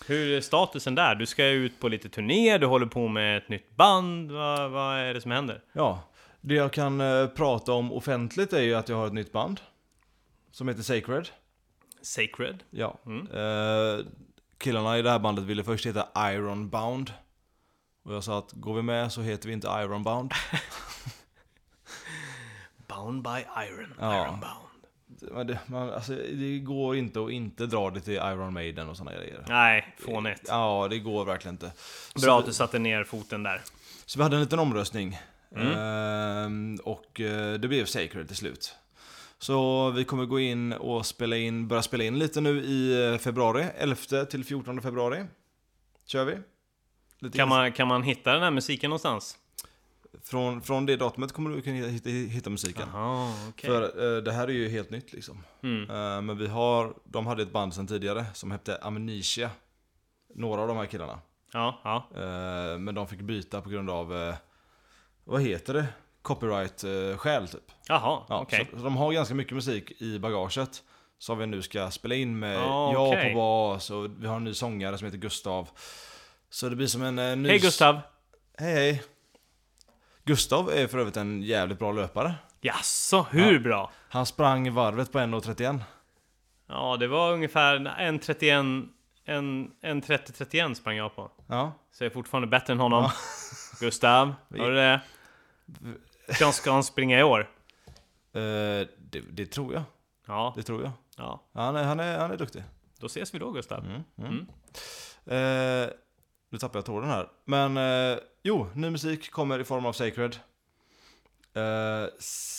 [SPEAKER 1] Hur är statusen där? Du ska ju ut på lite turné, du håller på med ett nytt band, vad, vad är det som händer?
[SPEAKER 2] Ja, det jag kan eh, prata om offentligt är ju att jag har ett nytt band. Som heter Sacred.
[SPEAKER 1] Sacred?
[SPEAKER 2] Ja.
[SPEAKER 1] Mm.
[SPEAKER 2] Eh, killarna i det här bandet ville först heta Ironbound. Och jag sa att går vi med så heter vi inte Ironbound.
[SPEAKER 1] Bound by Iron,
[SPEAKER 2] Ja.
[SPEAKER 1] Iron Bound.
[SPEAKER 2] Men det, man, alltså, det går inte att inte dra det till Iron Maiden och sådana grejer.
[SPEAKER 1] Nej, fånigt.
[SPEAKER 2] Ja, det går verkligen inte.
[SPEAKER 1] Bra att du satte ner foten där.
[SPEAKER 2] Så vi hade en liten omröstning.
[SPEAKER 1] Mm.
[SPEAKER 2] Ehm, och eh, det blev Sacred till slut. Så vi kommer gå in och spela in, börja spela in lite nu i eh, februari. 11 till 14 februari. Kör vi. Lite
[SPEAKER 1] Kan
[SPEAKER 2] in-
[SPEAKER 1] man, kan man hitta den här musiken någonstans?
[SPEAKER 2] från, från det datumet kommer du kunna hitta, hitta musiken.
[SPEAKER 1] Jaha, okej.
[SPEAKER 2] För eh, det här är ju helt nytt liksom.
[SPEAKER 1] Mm.
[SPEAKER 2] Eh, men vi har, de hade ett band sedan tidigare som hette Amnesia. Några av de här killarna.
[SPEAKER 1] Ja, ja.
[SPEAKER 2] Eh, men de fick byta på grund av, eh, vad heter det? Copyright-skäl typ.
[SPEAKER 1] Jaha,
[SPEAKER 2] Ja,
[SPEAKER 1] okej.
[SPEAKER 2] så, så de har ganska mycket musik i bagaget. Som vi nu ska spela in med
[SPEAKER 1] Ah,
[SPEAKER 2] jag
[SPEAKER 1] okej.
[SPEAKER 2] på bas och vi har en ny sångare som heter Gustav. Så det blir som en eh, ny...
[SPEAKER 1] Hej Gustav!
[SPEAKER 2] Hej hej! Gustav är för övrigt en jävligt bra löpare.
[SPEAKER 1] Jaså, hur
[SPEAKER 2] Ja.
[SPEAKER 1] bra?
[SPEAKER 2] Han sprang varvet på 1.31.
[SPEAKER 1] Ja, det var ungefär en 31... En, en 30-31 sprang jag på.
[SPEAKER 2] Ja.
[SPEAKER 1] Så jag är fortfarande bättre än honom. Gustav, hör du det? Ska han, ska han springa i år?
[SPEAKER 2] Eh, det, det tror jag.
[SPEAKER 1] Ja,
[SPEAKER 2] Det tror jag.
[SPEAKER 1] ja.
[SPEAKER 2] Han är, han är, han är duktig.
[SPEAKER 1] Då ses vi då Gustav.
[SPEAKER 2] Mm, mm. Eh, nu tappar jag tråden här. Men eh, jo, ny musik kommer i form av Sacred. Eh,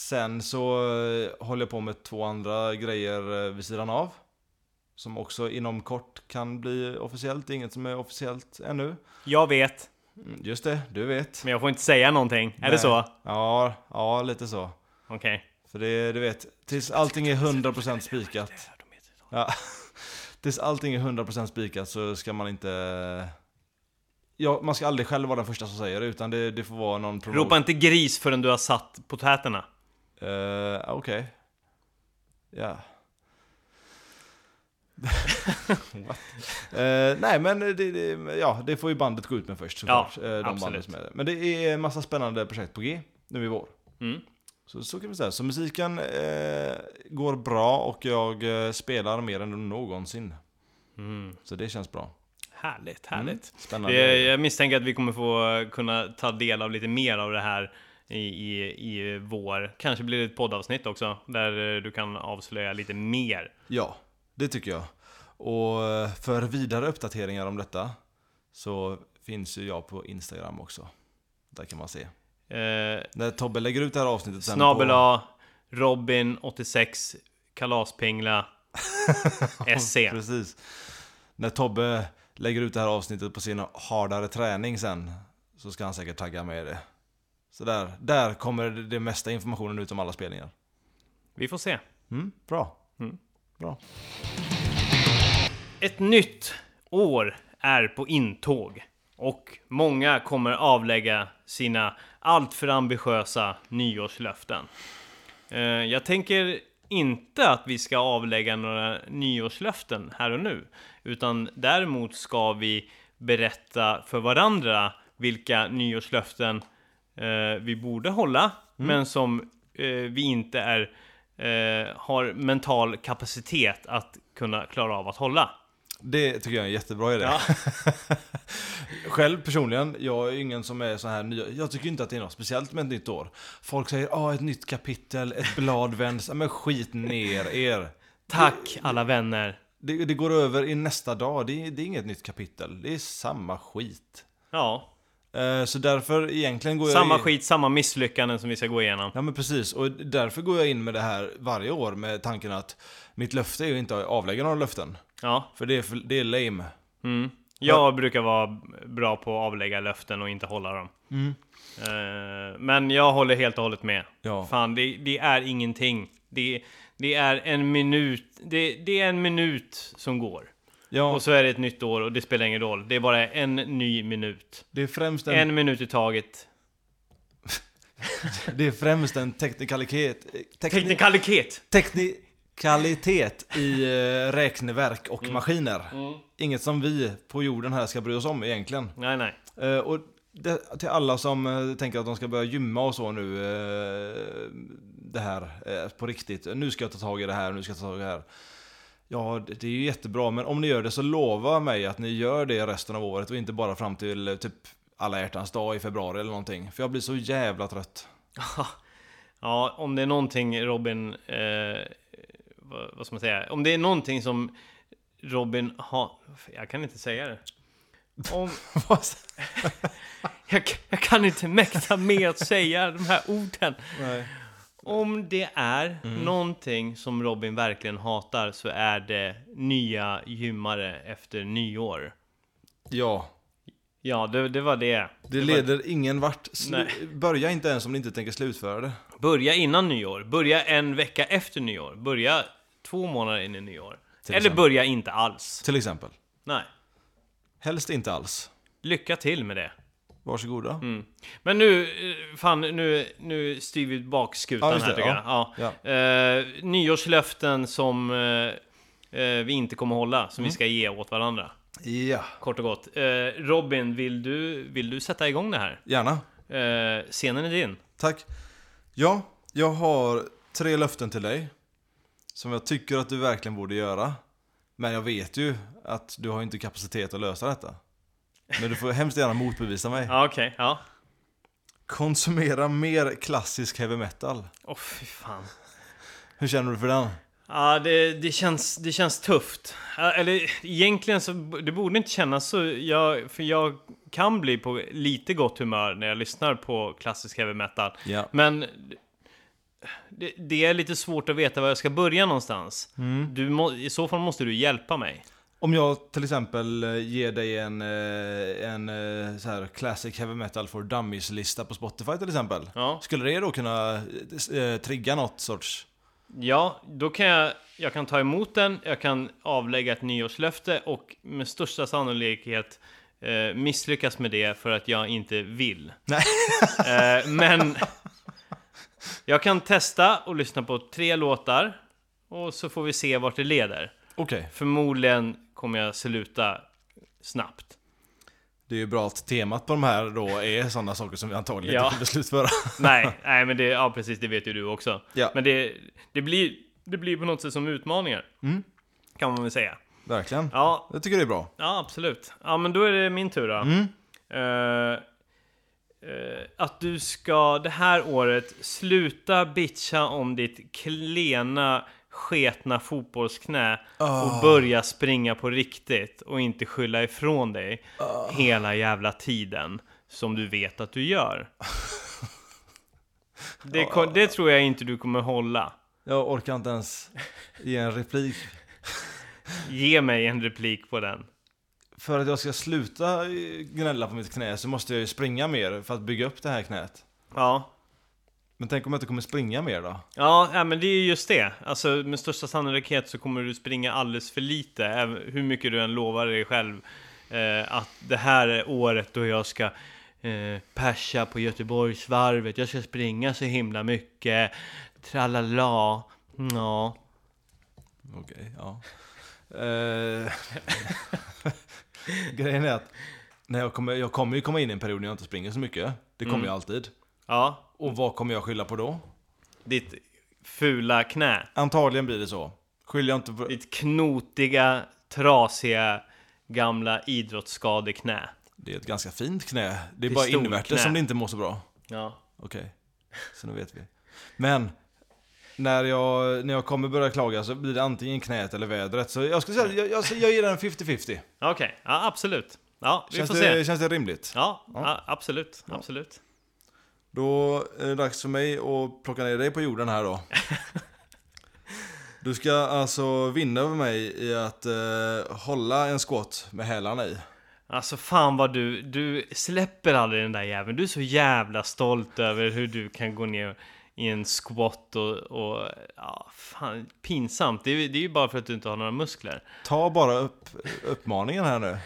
[SPEAKER 2] sen så eh, håller jag på med två andra grejer eh, vid sidan av. Som också inom kort kan bli officiellt. Det är Inget som är officiellt ännu.
[SPEAKER 1] Jag vet,
[SPEAKER 2] Mm, Just det, du vet.
[SPEAKER 1] men jag får inte säga någonting. Är det
[SPEAKER 2] Nej.
[SPEAKER 1] så?
[SPEAKER 2] Ja, ja lite så.
[SPEAKER 1] Okej.
[SPEAKER 2] För det, du vet, tills allting är 100% spikat. Ja. Tills allting är 100% spikat så ska man inte... Ja, man ska aldrig själv vara den första som säger det, utan det, det får vara någon promo-
[SPEAKER 1] Ropa inte gris förrän du har satt potäterna.
[SPEAKER 2] Eh, Okej. Ja. What? Eh, nej men det, det, ja, det får ju bandet gå ut med först såklart.
[SPEAKER 1] Ja,
[SPEAKER 2] Eh, de
[SPEAKER 1] absolut.
[SPEAKER 2] banden som är där. Men det är en massa spännande projekt på G nu i vår.
[SPEAKER 1] Mm.
[SPEAKER 2] Så, så kan vi säga. Så musiken eh, går bra och jag eh, spelar mer än någonsin.
[SPEAKER 1] Mm.
[SPEAKER 2] Så det känns bra.
[SPEAKER 1] Härligt,
[SPEAKER 2] Mm.
[SPEAKER 1] härligt.
[SPEAKER 2] Spännande.
[SPEAKER 1] Det, jag misstänker att vi kommer få kunna ta del av lite mer av det här i, i, i vår. Kanske blir det ett poddavsnitt också, där eh, du kan avslöja lite mer.
[SPEAKER 2] Ja, det tycker jag. Och eh, för vidare uppdateringar om detta så finns ju jag på Instagram också. Där kan man se.
[SPEAKER 1] Eh,
[SPEAKER 2] När Tobbe lägger ut det här avsnittet sen
[SPEAKER 1] Snabel
[SPEAKER 2] på...
[SPEAKER 1] A, Robin86, Kalaspingla, SC.
[SPEAKER 2] Precis. När Tobbe lägger ut det här avsnittet på sin hardare träning sen så ska han säkert tagga med det. Så där, där kommer det- det mesta informationen ut om alla spelningar.
[SPEAKER 1] Vi får se.
[SPEAKER 2] Mm, bra.
[SPEAKER 1] Mm.
[SPEAKER 2] Bra.
[SPEAKER 1] Ett nytt år är på intåg och många kommer avlägga sina alltför ambitiösa nyårslöften. Eh, Jag tänker inte att vi ska avlägga några nyårslöften här och nu, utan däremot ska vi berätta för varandra vilka nyårslöften eh, vi borde hålla, men som eh, vi inte är, eh, har mental kapacitet att kunna klara av att hålla.
[SPEAKER 2] Det tycker jag är en jättebra idé. Själv personligen, jag är ingen som är så här ny. Jag tycker inte att det är något speciellt med ett nytt år. Folk säger ah, ett nytt kapitel, ett blad vänds. Ja, Men skit ner er.
[SPEAKER 1] Tack alla vänner.
[SPEAKER 2] Det, det går över i nästa dag. Det, är- det är inget nytt kapitel. Det är samma skit.
[SPEAKER 1] Ja,
[SPEAKER 2] Eh, så därför egentligen går jag
[SPEAKER 1] samma
[SPEAKER 2] in...
[SPEAKER 1] skit, samma misslyckanden som vi ska gå igenom.
[SPEAKER 2] Ja men precis, och därför går jag in med det här varje år med tanken att mitt löfte är ju inte att avlägga några löften.
[SPEAKER 1] Ja,
[SPEAKER 2] För det är, för, det är lame.
[SPEAKER 1] mm. Jag brukar vara bra på att avlägga löften och inte hålla dem. Eh, Men jag håller helt och hållet med.
[SPEAKER 2] Ja.
[SPEAKER 1] Fan, det, det är ingenting. Det, det är en minut. Det, det är en minut som går.
[SPEAKER 2] Ja,
[SPEAKER 1] Och så är det ett nytt år och det spelar ingen roll. Det är bara en ny minut.
[SPEAKER 2] det är främst en...
[SPEAKER 1] En minut i taget.
[SPEAKER 2] Det är främst en teknikalitet, tekni,
[SPEAKER 1] Teknikalitet!
[SPEAKER 2] teknikalitet i eh, räkneverk och maskiner.
[SPEAKER 1] Mm.
[SPEAKER 2] Inget som vi på jorden här ska bry oss om egentligen.
[SPEAKER 1] Nej, nej.
[SPEAKER 2] Eh, och det, till alla som eh, tänker att de ska börja gymma och så nu, eh, det här eh, på riktigt. Nu ska jag ta tag i det här, nu ska jag ta tag i det här. Ja, det det är ju jättebra, men om ni gör det så lova mig att ni gör det resten av året och inte bara fram till eh, typ alla hjärtans dag i februari eller någonting. För jag blir så jävla trött.
[SPEAKER 1] Ja, om det är någonting Robin... Eh, vad, vad ska man säga? Om det är någonting som Robin har... Jag kan inte säga det. Om, jag, jag kan inte mäkta med att säga de här orden.
[SPEAKER 2] Nej.
[SPEAKER 1] Om det är någonting som Robin verkligen hatar så är det nya gymmare efter nyår.
[SPEAKER 2] Ja,
[SPEAKER 1] Ja, det, det var det.
[SPEAKER 2] det leder ingen vart. Slu-
[SPEAKER 1] Nej.
[SPEAKER 2] Börja inte ens om ni inte tänker slutföra det.
[SPEAKER 1] Börja innan nyår. Börja en vecka efter nyår. Börja två månader in i nyår.
[SPEAKER 2] Till
[SPEAKER 1] Eller
[SPEAKER 2] exempel.
[SPEAKER 1] börja inte alls.
[SPEAKER 2] Till exempel.
[SPEAKER 1] Nej.
[SPEAKER 2] Helst inte alls.
[SPEAKER 1] Lycka till med det.
[SPEAKER 2] Varsågoda.
[SPEAKER 1] Mm. Men nu, eh, fan, nu, nu styr vi bak skutan
[SPEAKER 2] Ja, just
[SPEAKER 1] här
[SPEAKER 2] det,
[SPEAKER 1] tycker jag. Ja.
[SPEAKER 2] Ja.
[SPEAKER 1] Eh, nyårslöften som eh, eh, vi inte kommer hålla,
[SPEAKER 2] Mm.
[SPEAKER 1] som vi ska ge åt varandra.
[SPEAKER 2] Ja.
[SPEAKER 1] Kort och gott. Eh, Robin, vill du, vill du sätta igång det här?
[SPEAKER 2] Gärna.
[SPEAKER 1] Eh, scenen är din.
[SPEAKER 2] Tack. Ja, jag har tre löften till dig. Som jag tycker att du verkligen borde göra. Men jag vet ju att du har inte kapacitet att lösa detta. Men du får hemskt gärna motbevisa mig.
[SPEAKER 1] Ja, okej. Ja.
[SPEAKER 2] Konsumera mer klassisk heavy metal.
[SPEAKER 1] Åh, fy fan.
[SPEAKER 2] Hur känner du för den?
[SPEAKER 1] Ja, det, det, känns, det känns tufft. Ja, Eller egentligen så b- det borde inte kännas så. Jag, för jag kan bli på lite gott humör när jag lyssnar på klassisk heavy metal.
[SPEAKER 2] Ja.
[SPEAKER 1] Men det, det är lite svårt att veta var jag ska börja någonstans. Du må, I så fall måste du hjälpa mig.
[SPEAKER 2] Om jag till exempel eh, ger dig en, eh, en eh, så här classic heavy metal for dummies-lista på Spotify till exempel.
[SPEAKER 1] Ja,
[SPEAKER 2] Skulle det då kunna eh, trigga något sorts...
[SPEAKER 1] ja då kan jag, jag kan ta emot den, jag kan avlägga ett nyårslöfte och med största sannolikhet eh, misslyckas med det för att jag inte vill.
[SPEAKER 2] Nej.
[SPEAKER 1] Eh, men jag kan testa och lyssna på tre låtar och så får vi se vart det leder.
[SPEAKER 2] Okej.
[SPEAKER 1] Förmodligen kommer jag sluta snabbt.
[SPEAKER 2] Det är ju bra att temat på de här då är sådana saker som vi antagligen
[SPEAKER 1] Ja.
[SPEAKER 2] inte kan beslutföra.
[SPEAKER 1] Nej, nej men det, ja precis, det vet ju du också.
[SPEAKER 2] Ja.
[SPEAKER 1] Men det, det, blir, det blir på något sätt som utmaningar. Kan man väl säga.
[SPEAKER 2] Verkligen.
[SPEAKER 1] Ja,
[SPEAKER 2] Jag tycker det är bra.
[SPEAKER 1] ja absolut. Ja men då är det min tur då. Eh, eh, att du ska det här året sluta bitcha om ditt klena sketna fotbollsknä och börja springa på riktigt och inte skylla ifrån dig hela jävla tiden som du vet att du gör. Det, ko- det tror jag inte du kommer hålla.
[SPEAKER 2] Jag orkar inte ens ge en replik.
[SPEAKER 1] Ge mig en replik på den.
[SPEAKER 2] För att jag ska sluta eh, gnälla på mitt knä så måste jag ju springa mer för att bygga upp det här knät.
[SPEAKER 1] Ja,
[SPEAKER 2] Men tänk om jag inte kommer springa mer då?
[SPEAKER 1] Ja, ja, men det är ju just det. Alltså, med största sannolikhet så kommer du springa alldeles för lite, även hur mycket du än lovar dig själv eh, att det här är året då jag ska eh, persa på Göteborgsvarvet, jag ska springa så himla mycket, tralala. Ja,
[SPEAKER 2] Okej, ja. Eh, Grejen är att när jag, kommer, jag kommer ju komma in i en period när jag inte springer så mycket. Det kommer ju alltid.
[SPEAKER 1] ja,
[SPEAKER 2] Och vad kommer jag skylla på då?
[SPEAKER 1] ditt fula knä,
[SPEAKER 2] Antagligen blir det så. Skyller jag inte på...
[SPEAKER 1] ditt knotiga, trasiga, gamla idrottsskadeknä.
[SPEAKER 2] Det är ett ganska fint knä. Det är bara
[SPEAKER 1] Pistolknä.
[SPEAKER 2] invärtes som det inte mår så bra.
[SPEAKER 1] Ja.
[SPEAKER 2] Okej, så nu vet vi. Men när jag, när jag kommer börja klaga så blir det antingen knät eller vädret. Så jag skulle säga, jag, jag, jag ger den 50-50.
[SPEAKER 1] Okej, ja, absolut. Ja, vi
[SPEAKER 2] Känns
[SPEAKER 1] får se.
[SPEAKER 2] det, känns det rimligt?
[SPEAKER 1] Ja, a- absolut, absolut.
[SPEAKER 2] Då är det dags för mig att plocka ner dig på jorden här då. Du ska alltså vinna över mig i att eh, hålla en squat med hälarna i.
[SPEAKER 1] Alltså fan vad du, du släpper aldrig den där jäveln. Du är så jävla stolt över hur du kan gå ner i en squat och, och ja, fan, pinsamt. Det är, ju- det är ju bara för att du inte har några muskler.
[SPEAKER 2] Ta bara upp, uppmaningen här nu.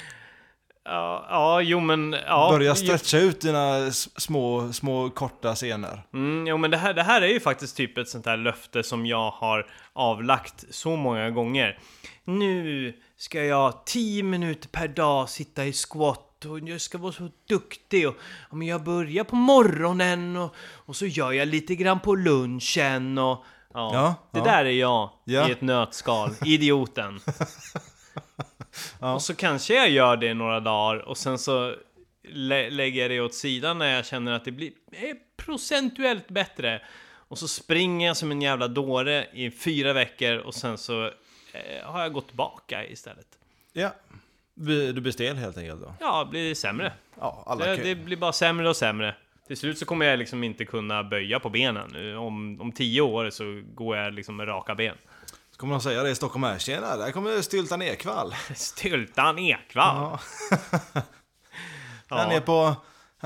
[SPEAKER 1] Ja, ja jo men... Ja,
[SPEAKER 2] Börja
[SPEAKER 1] jo,
[SPEAKER 2] stretcha ut dina s- små, små korta senor.
[SPEAKER 1] mm, jo men det här, det här är ju faktiskt typ ett sånt här löfte som jag har avlagt så många gånger. Nu ska jag 10 minuter per dag sitta i squat och jag ska vara så duktig och ja, men jag börjar på morgonen och, och så gör jag lite grann på lunchen och ja,
[SPEAKER 2] Ja,
[SPEAKER 1] det
[SPEAKER 2] ja.
[SPEAKER 1] där är jag
[SPEAKER 2] Ja.
[SPEAKER 1] i ett nötskal, idioten. Och så kanske jag gör det i några dagar och sen så lä- lägger jag det åt sidan när jag känner att det blir är procentuellt bättre. Och så springer jag som en jävla dåre i fyra veckor och sen så eh, har jag gått tillbaka istället.
[SPEAKER 2] Ja. Du blir stel helt enkelt då?
[SPEAKER 1] Ja, blir det sämre.
[SPEAKER 2] Ja, alla
[SPEAKER 1] Det,
[SPEAKER 2] kan-
[SPEAKER 1] det blir bara sämre och sämre. Till slut så kommer jag liksom inte kunna böja på benen. Om, om tio år så går jag liksom med raka ben.
[SPEAKER 2] Så kommer de säga det i Stockholm här, tjena, där kommer Styltan Ekwall.
[SPEAKER 1] Styltan Ekvall!
[SPEAKER 2] Ja. Han är
[SPEAKER 1] Ja,
[SPEAKER 2] på,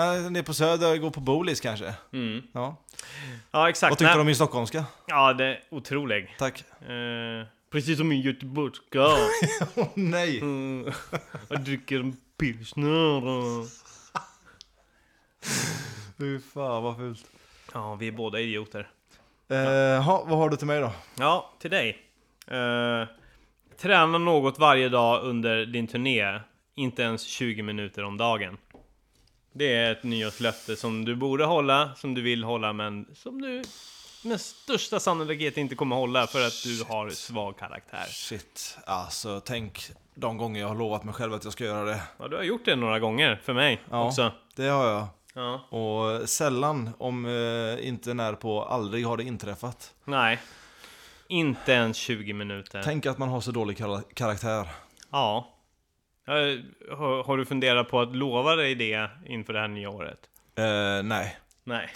[SPEAKER 2] han är på Söder och går på Bolis kanske. Ja.
[SPEAKER 1] ja
[SPEAKER 2] Vad
[SPEAKER 1] exakt.
[SPEAKER 2] tyckte du
[SPEAKER 1] Nej,
[SPEAKER 2] om min stockholmska?
[SPEAKER 1] Ja, det är otrolig.
[SPEAKER 2] Tack.
[SPEAKER 1] Eh, precis som en göteborgska.
[SPEAKER 2] Åh nej!
[SPEAKER 1] Mm, jag dricker en pilsner. och-
[SPEAKER 2] Fy fan vad fult.
[SPEAKER 1] Ja, vi är båda idioter.
[SPEAKER 2] Eh, ha, vad har du till mig då?
[SPEAKER 1] Ja, till dig. Eh, träna något varje dag under din turné. Inte ens 20 minuter om dagen. Det är ett nyårslöfte som du borde hålla, som du vill hålla, men som du med största sannolikhet inte kommer hålla för att du har svag karaktär.
[SPEAKER 2] Shit, alltså tänk de gånger jag har lovat mig själv att jag ska göra det.
[SPEAKER 1] Ja, du har gjort det några gånger för mig
[SPEAKER 2] Ja.
[SPEAKER 1] också.
[SPEAKER 2] Det har jag.
[SPEAKER 1] Ja.
[SPEAKER 2] Och sällan, om eh, inte när på, aldrig har det inträffat.
[SPEAKER 1] Nej. Inte ens 20 minuter.
[SPEAKER 2] Tänk att man har så dålig kara- karaktär.
[SPEAKER 1] Ja. Eh, Har, har du funderat på att lova dig det inför det här nya året?
[SPEAKER 2] Eh, nej.
[SPEAKER 1] Nej.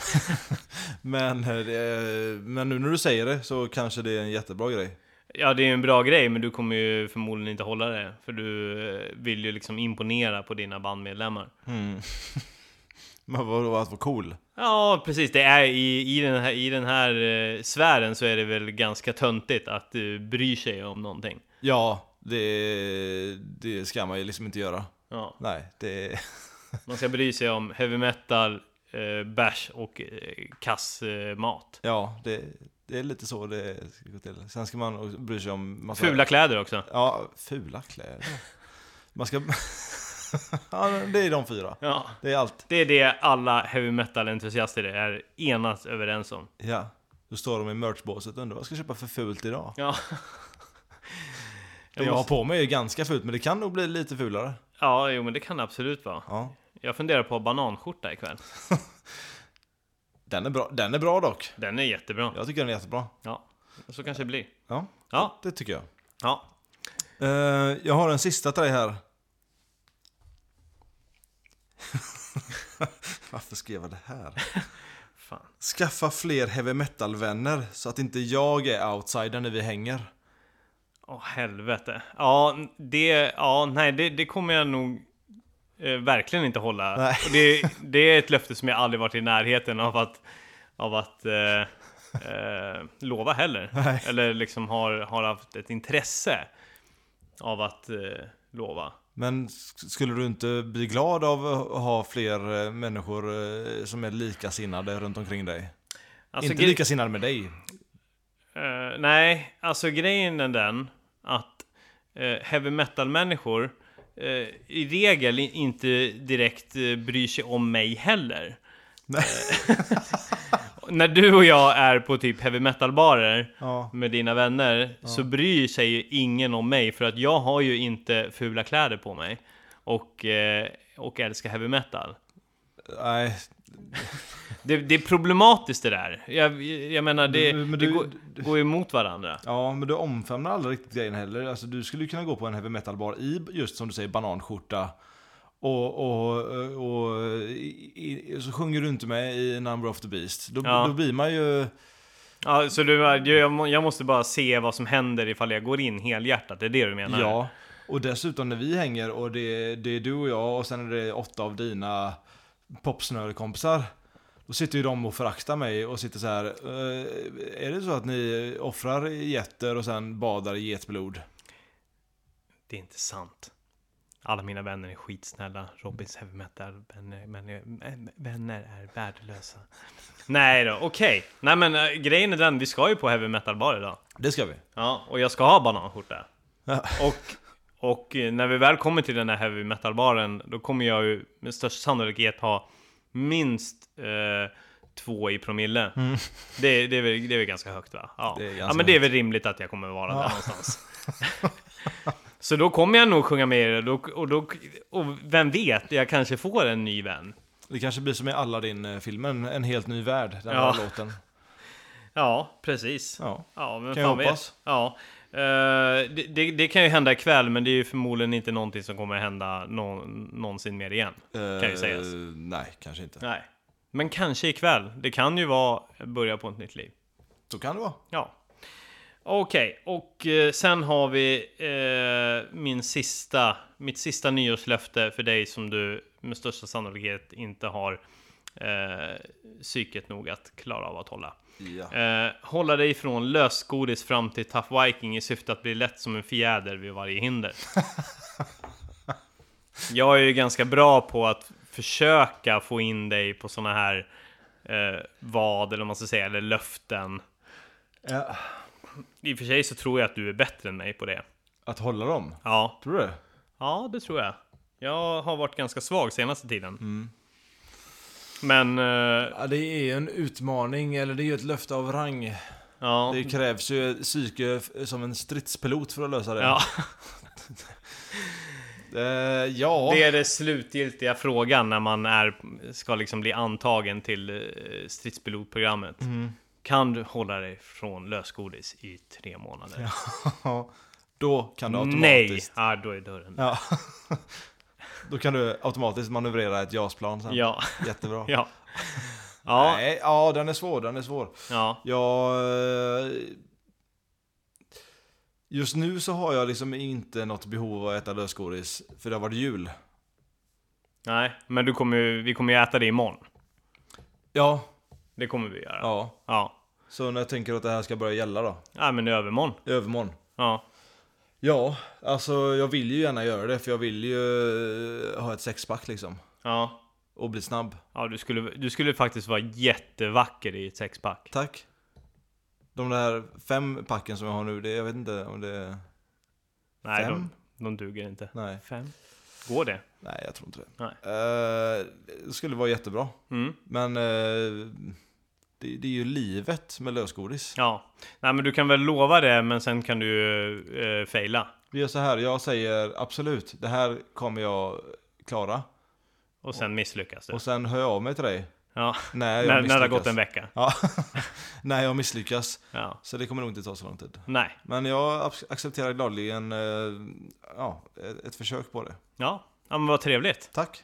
[SPEAKER 2] Men, eh, det- men nu när du säger det så kanske det är en jättebra grej.
[SPEAKER 1] Ja, det är ju en bra grej, men du kommer ju förmodligen inte hålla det. För du eh, vill ju liksom imponera på dina bandmedlemmar.
[SPEAKER 2] Mm. Men vadå att vara cool?
[SPEAKER 1] Ja, precis. Det är i, i den här, i den här eh, sfären så är det väl ganska töntigt att du bryr sig om någonting.
[SPEAKER 2] Ja, det, det ska man ju liksom inte göra.
[SPEAKER 1] Ja,
[SPEAKER 2] Nej, det...
[SPEAKER 1] man ska bry sig om heavy metal, eh, bärs och eh, kass eh, mat.
[SPEAKER 2] Ja, det, det är lite så det ska gå till. Sen ska man också bry sig om... Massa,
[SPEAKER 1] Fula kläder också.
[SPEAKER 2] Ja, fula kläder. Man ska... ja, det är de fyra.
[SPEAKER 1] Ja.
[SPEAKER 2] Det är allt.
[SPEAKER 1] Det är det alla heavy metal-entusiaster är enat överens om.
[SPEAKER 2] Ja. Då står de i merchbåset och undrar vad jag ska jag köpa för fult idag?
[SPEAKER 1] Ja.
[SPEAKER 2] Det jag har på mig är ganska fult, men det kan nog bli lite fulare.
[SPEAKER 1] Ja, jo men det kan det absolut vara.
[SPEAKER 2] Ja.
[SPEAKER 1] Jag funderar på bananskjorta ikväll.
[SPEAKER 2] Den är bra, den är bra dock.
[SPEAKER 1] Den är jättebra.
[SPEAKER 2] Jag tycker den är jättebra.
[SPEAKER 1] Ja, så kanske det blir.
[SPEAKER 2] Ja,
[SPEAKER 1] Ja,
[SPEAKER 2] det tycker jag.
[SPEAKER 1] ja.
[SPEAKER 2] Eh, jag har en sista till dig här. Varför skrev jag det här?
[SPEAKER 1] Fan.
[SPEAKER 2] Skaffa fler heavy metal-vänner så att inte jag är outsider när vi hänger.
[SPEAKER 1] Åh helvete. Ja, det, ja nej, det, det kommer jag nog eh, verkligen inte hålla.
[SPEAKER 2] Nej.
[SPEAKER 1] Och Det, det är ett löfte som jag aldrig varit i närheten av att, av att eh, eh, lova heller.
[SPEAKER 2] Nej.
[SPEAKER 1] Eller liksom har, har haft ett intresse av att eh, lova.
[SPEAKER 2] Men sk- skulle du inte bli glad av att ha fler eh, människor eh, som är likasinnade runt omkring dig?
[SPEAKER 1] Alltså,
[SPEAKER 2] inte
[SPEAKER 1] gre-
[SPEAKER 2] likasinnade med dig.
[SPEAKER 1] eh, nej, alltså grejen är den att eh, heavy metal-människor eh, i regel i- inte direkt eh, bryr sig om mig heller. Eh,
[SPEAKER 2] Nej.
[SPEAKER 1] När du och jag är på typ heavy metal-barer
[SPEAKER 2] Ja.
[SPEAKER 1] med dina vänner så bryr sig ju ingen om mig för att jag har ju inte fula kläder på mig och, eh, och älskar heavy metal.
[SPEAKER 2] Nej,
[SPEAKER 1] Det, det är problematiskt det där. Jag, jag menar, det,
[SPEAKER 2] Men- men
[SPEAKER 1] det
[SPEAKER 2] du-
[SPEAKER 1] går, går ju emot varandra.
[SPEAKER 2] Ja, men du omfamnar aldrig riktigt grejen heller. Alltså, du skulle ju kunna gå på en heavy metal-bar i just som du säger bananskjorta. Och, och, och, i, i, så sjunger du inte med i Number of the Beast. Då,
[SPEAKER 1] Ja.
[SPEAKER 2] då blir man ju...
[SPEAKER 1] Ja, så du, jag, må- jag måste bara se vad som händer ifall jag går in helhjärtat, det är det du menar?
[SPEAKER 2] Ja. Och dessutom när vi hänger och det, det är du och jag och sen är det åtta av dina popsnörekompisar. Då sitter ju de och föraktar mig och sitter så här. "Eh, Är det så att ni offrar getter och sen badar i getblod?
[SPEAKER 1] Det är inte sant. Alla mina vänner är skitsnälla. Robins heavy metal vänner, vänner, vänner är värdelösa. Nej då, okej. Nej men äh, grejen är den, vi ska ju på heavy metal bar idag.
[SPEAKER 2] Det ska vi.
[SPEAKER 1] Ja, och jag ska ha bananskjorta.
[SPEAKER 2] Ja.
[SPEAKER 1] Och, och eh, när vi väl kommer till den här heavy metal baren, då kommer jag ju med största sannolikhet ha minst eh, två i promille. Det, det, är väl, det är väl ganska högt va? Ja.
[SPEAKER 2] Mm. Det är
[SPEAKER 1] ja,
[SPEAKER 2] ganska
[SPEAKER 1] men det är väl rimligt att jag kommer vara där någonstans. Så då kommer jag nog sjunga med er och, då, och, då, och vem vet, jag kanske får en ny vän.
[SPEAKER 2] Det kanske blir som i Aladdin-filmen, en helt ny värld, den
[SPEAKER 1] Ja.
[SPEAKER 2] här låten.
[SPEAKER 1] Ja, precis.
[SPEAKER 2] Ja.
[SPEAKER 1] Ja, men
[SPEAKER 2] Kan
[SPEAKER 1] fan
[SPEAKER 2] jag hoppas.
[SPEAKER 1] vet. Ja. Eh, det, det, det kan ju hända ikväll, men det är ju förmodligen inte någonting som kommer hända nå, någonsin mer igen. Kan ju sägas.
[SPEAKER 2] Eh, Nej, kanske inte.
[SPEAKER 1] Nej. Men kanske ikväll. Det kan ju vara börja på ett nytt liv.
[SPEAKER 2] Så kan det vara.
[SPEAKER 1] Ja. Okej, och eh, sen har vi eh, min sista, mitt sista nyårslöfte för dig som du med största sannolikhet inte har eh, psyket nog att klara av att hålla.
[SPEAKER 2] Ja.
[SPEAKER 1] Eh, hålla dig ifrån lösgodis fram till Tough Viking i syfte att bli lätt som en fjäder vid varje hinder. Jag är ju ganska bra på att försöka få in dig på såna här eh, vad, eller vad man ska säga, eller löften.
[SPEAKER 2] Ja.
[SPEAKER 1] I och för sig så tror jag att du är bättre än mig på det.
[SPEAKER 2] Att hålla dem?
[SPEAKER 1] Ja,
[SPEAKER 2] Tror du det?
[SPEAKER 1] ja det tror jag. Jag har varit ganska svag senaste tiden. Men, eh,
[SPEAKER 2] Ja, det är ju en utmaning, eller det är ju ett löfte av rang.
[SPEAKER 1] ja.
[SPEAKER 2] Det krävs ju psyke f- som en stridspilot för att lösa det.
[SPEAKER 1] ja.
[SPEAKER 2] Eh, ja.
[SPEAKER 1] Det är den slutgiltiga frågan när man är, ska liksom bli antagen till eh, stridspilotprogrammet.
[SPEAKER 2] Mm.
[SPEAKER 1] Kan du hålla dig från lösgodis i tre månader?
[SPEAKER 2] Då kan du
[SPEAKER 1] Nej!
[SPEAKER 2] automatiskt...
[SPEAKER 1] Ah, då är dörren.
[SPEAKER 2] Ja. Då kan du automatiskt manövrera ett JAS-plan sen.
[SPEAKER 1] Ja,
[SPEAKER 2] Jättebra.
[SPEAKER 1] ja. Ja,
[SPEAKER 2] Nej, ja, den är svår, den är svår.
[SPEAKER 1] ja,
[SPEAKER 2] Jag... eh, Just nu så har jag liksom inte något behov av att äta lösgodis, för det har varit jul.
[SPEAKER 1] nej, men du kommer ju, vi kommer ju äta det imorgon.
[SPEAKER 2] Ja,
[SPEAKER 1] Det kommer vi göra. Ja.
[SPEAKER 2] ja.
[SPEAKER 1] Ja,
[SPEAKER 2] Så när jag tänker att det här ska börja gälla då,
[SPEAKER 1] ah, men det är övermorgon.
[SPEAKER 2] i övermorgon.
[SPEAKER 1] Ja,
[SPEAKER 2] Ja, alltså jag vill ju gärna göra det, för jag vill ju eh, ha ett sexpack liksom.
[SPEAKER 1] ja.
[SPEAKER 2] Och bli snabb.
[SPEAKER 1] Ja, du skulle, du skulle faktiskt vara jättevacker i ett sexpack.
[SPEAKER 2] Tack. De där fem packen som jag har nu, det, jag vet inte om det...
[SPEAKER 1] Nej,
[SPEAKER 2] Fem?
[SPEAKER 1] de, de duger inte.
[SPEAKER 2] Nej.
[SPEAKER 1] Fem? Går det?
[SPEAKER 2] Nej, jag tror inte det.
[SPEAKER 1] Nej.
[SPEAKER 2] Eh, det skulle vara jättebra.
[SPEAKER 1] Mm.
[SPEAKER 2] Men eh, det, det är ju livet med lösgodis.
[SPEAKER 1] Ja, nej men du kan väl lova det men sen kan du ju, eh, faila.
[SPEAKER 2] Vi gör så här, jag säger absolut, det här kommer jag klara.
[SPEAKER 1] Och sen misslyckas du.
[SPEAKER 2] Och sen hör jag av mig till dig.
[SPEAKER 1] Ja,
[SPEAKER 2] När
[SPEAKER 1] när,
[SPEAKER 2] jag
[SPEAKER 1] när det
[SPEAKER 2] misslyckas.
[SPEAKER 1] har gått en vecka.
[SPEAKER 2] Ja, när jag misslyckas.
[SPEAKER 1] Ja.
[SPEAKER 2] Så det kommer nog inte ta så lång tid.
[SPEAKER 1] Nej,
[SPEAKER 2] Men jag ac- accepterar gladeligen eh, ja, ett ett försök på det.
[SPEAKER 1] ja. ja men vad trevligt.
[SPEAKER 2] Tack.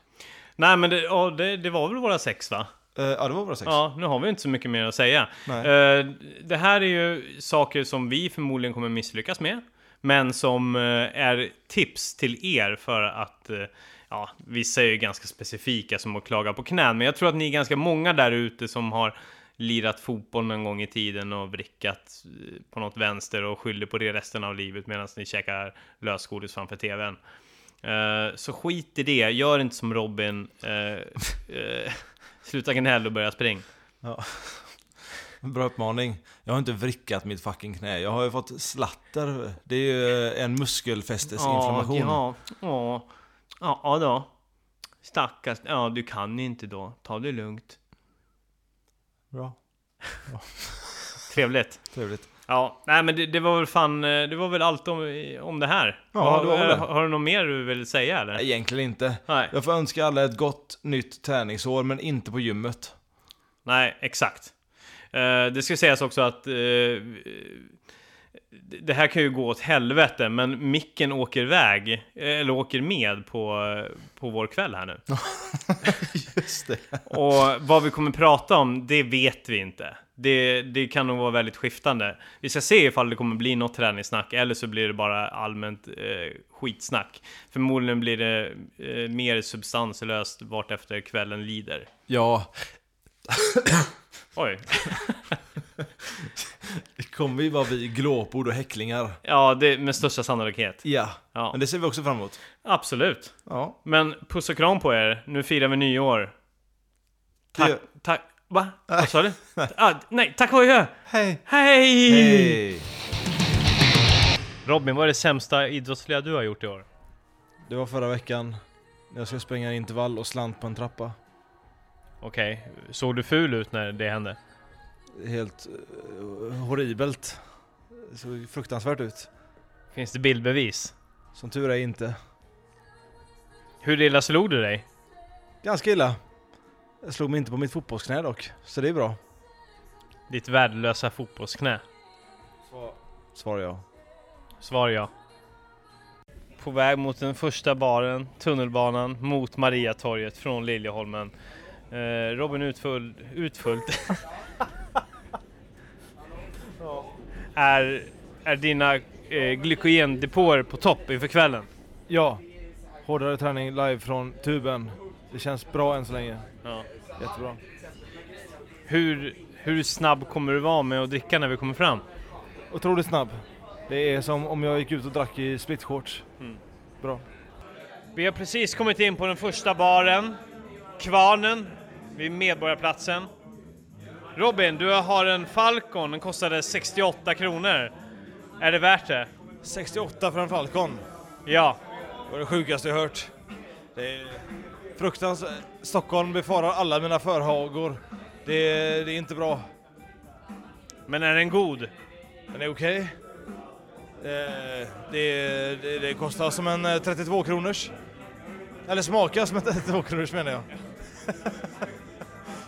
[SPEAKER 1] Nej men det, ja, det, det var väl våra sex va?
[SPEAKER 2] Eh, ja, det var våra sex.
[SPEAKER 1] Ja, nu har vi inte så mycket mer att säga.
[SPEAKER 2] Nej.
[SPEAKER 1] Eh, det här är ju saker som vi förmodligen kommer misslyckas med. Men som eh, är tips till er för att eh, Ja, vissa är ju ganska specifika som att klaga på knän, men jag tror att ni är ganska många där ute som har lirat fotboll någon gång i tiden och vrickat eh, på något vänster och skyller på det resten av livet medan ni käkar lösgodis framför TVn. Eh, så skit i det, gör inte som Robin. Eh, eh, sluta gnäll och börja spring.
[SPEAKER 2] Bra uppmaning. Jag har inte vrickat mitt fucking knä. Jag har ju fått slatter. Det är ju eh, en muskelfästesinflammation.
[SPEAKER 1] Ja, ja, ja, ja då. Stackars, ja du kan inte då. Ta det lugnt.
[SPEAKER 2] Bra.
[SPEAKER 1] Trevligt.
[SPEAKER 2] Trevligt.
[SPEAKER 1] Ja, nej men det, det var väl fan, eh, det var väl allt om, eh, om det här.
[SPEAKER 2] Ja,
[SPEAKER 1] Vad-
[SPEAKER 2] det var väl det.
[SPEAKER 1] Har, har du något mer du vill säga eller?
[SPEAKER 2] Nej, egentligen inte.
[SPEAKER 1] Nej,
[SPEAKER 2] Jag får önska alla ett gott nytt träningsår, men inte på gymmet.
[SPEAKER 1] nej exakt. Eh, det ska sägas också att eh, det här kan ju gå åt helvete, men micken åker iväg, eh, eller åker med på, eh, på vår kväll här nu.
[SPEAKER 2] Just det.
[SPEAKER 1] Och vad vi kommer prata om, det vet vi inte. Det, det kan nog vara väldigt skiftande. Vi ska se ifall det kommer bli något träningssnack eller så blir det bara allmänt eh, skitsnack. Förmodligen blir det eh, mer substanslöst vart efter kvällen lider.
[SPEAKER 2] Ja,
[SPEAKER 1] Oj.
[SPEAKER 2] det kommer ju vara vi glåpord och häcklingar.
[SPEAKER 1] Ja, det med största sannolikhet.
[SPEAKER 2] Ja.
[SPEAKER 1] Ja.
[SPEAKER 2] Men det ser vi också fram emot.
[SPEAKER 1] Absolut.
[SPEAKER 2] Ja.
[SPEAKER 1] Men puss och kram på er. Nu firar vi nyår. Tack.
[SPEAKER 2] Det-
[SPEAKER 1] Tack. Va? Vad sa du? Ah, nej, tack och adjö.
[SPEAKER 2] Hej.
[SPEAKER 1] Hej!
[SPEAKER 2] Hej.
[SPEAKER 1] Robin, vad är det sämsta idrottsliga du har gjort i år?
[SPEAKER 2] Det var förra veckan. när Jag ska springa en intervall och slant på en trappa.
[SPEAKER 1] Okej, såg du ful ut när det hände?
[SPEAKER 2] Helt eh, horribelt. Det såg fruktansvärt ut.
[SPEAKER 1] Finns det bildbevis?
[SPEAKER 2] Som tur är inte.
[SPEAKER 1] Hur illa slog du dig?
[SPEAKER 2] Ganska illa. Jag slog mig inte på mitt fotbollsknä dock, så det är bra.
[SPEAKER 1] Ditt värdelösa fotbollsknä?
[SPEAKER 2] Svarar jag.
[SPEAKER 1] Svar ja. På väg mot den första baren, tunnelbanan, mot Mariatorget från Liljeholmen. Eh, Robin utfull, utfullt. är, är dina eh, glykogendepåer på topp inför kvällen?
[SPEAKER 2] Ja. Hårdare träning live från tuben. Det känns bra än så länge.
[SPEAKER 1] Ja.
[SPEAKER 2] Jättebra.
[SPEAKER 1] Hur, hur snabb kommer du vara med att dricka när vi kommer fram?
[SPEAKER 2] Otroligt snabb. Det är som om jag gick ut och drack i Mm. splitshorts. Bra.
[SPEAKER 1] Vi har precis kommit in på den första baren. Kvarnen vid Medborgarplatsen. Robin, du har en Falcon, den kostade 68 kronor. Är det värt det?
[SPEAKER 2] 68 för en Falcon.
[SPEAKER 1] Ja.
[SPEAKER 2] Det var det sjukaste jag hört. Det är fruktansvärt. Stockholm befarar alla mina förhågor. Det är, det är inte bra.
[SPEAKER 1] Men är den god?
[SPEAKER 2] Den är okej. Eh, Det, det, det kostar som en eh, 32 kronors. Eller smakar som en 32 kronors menar jag.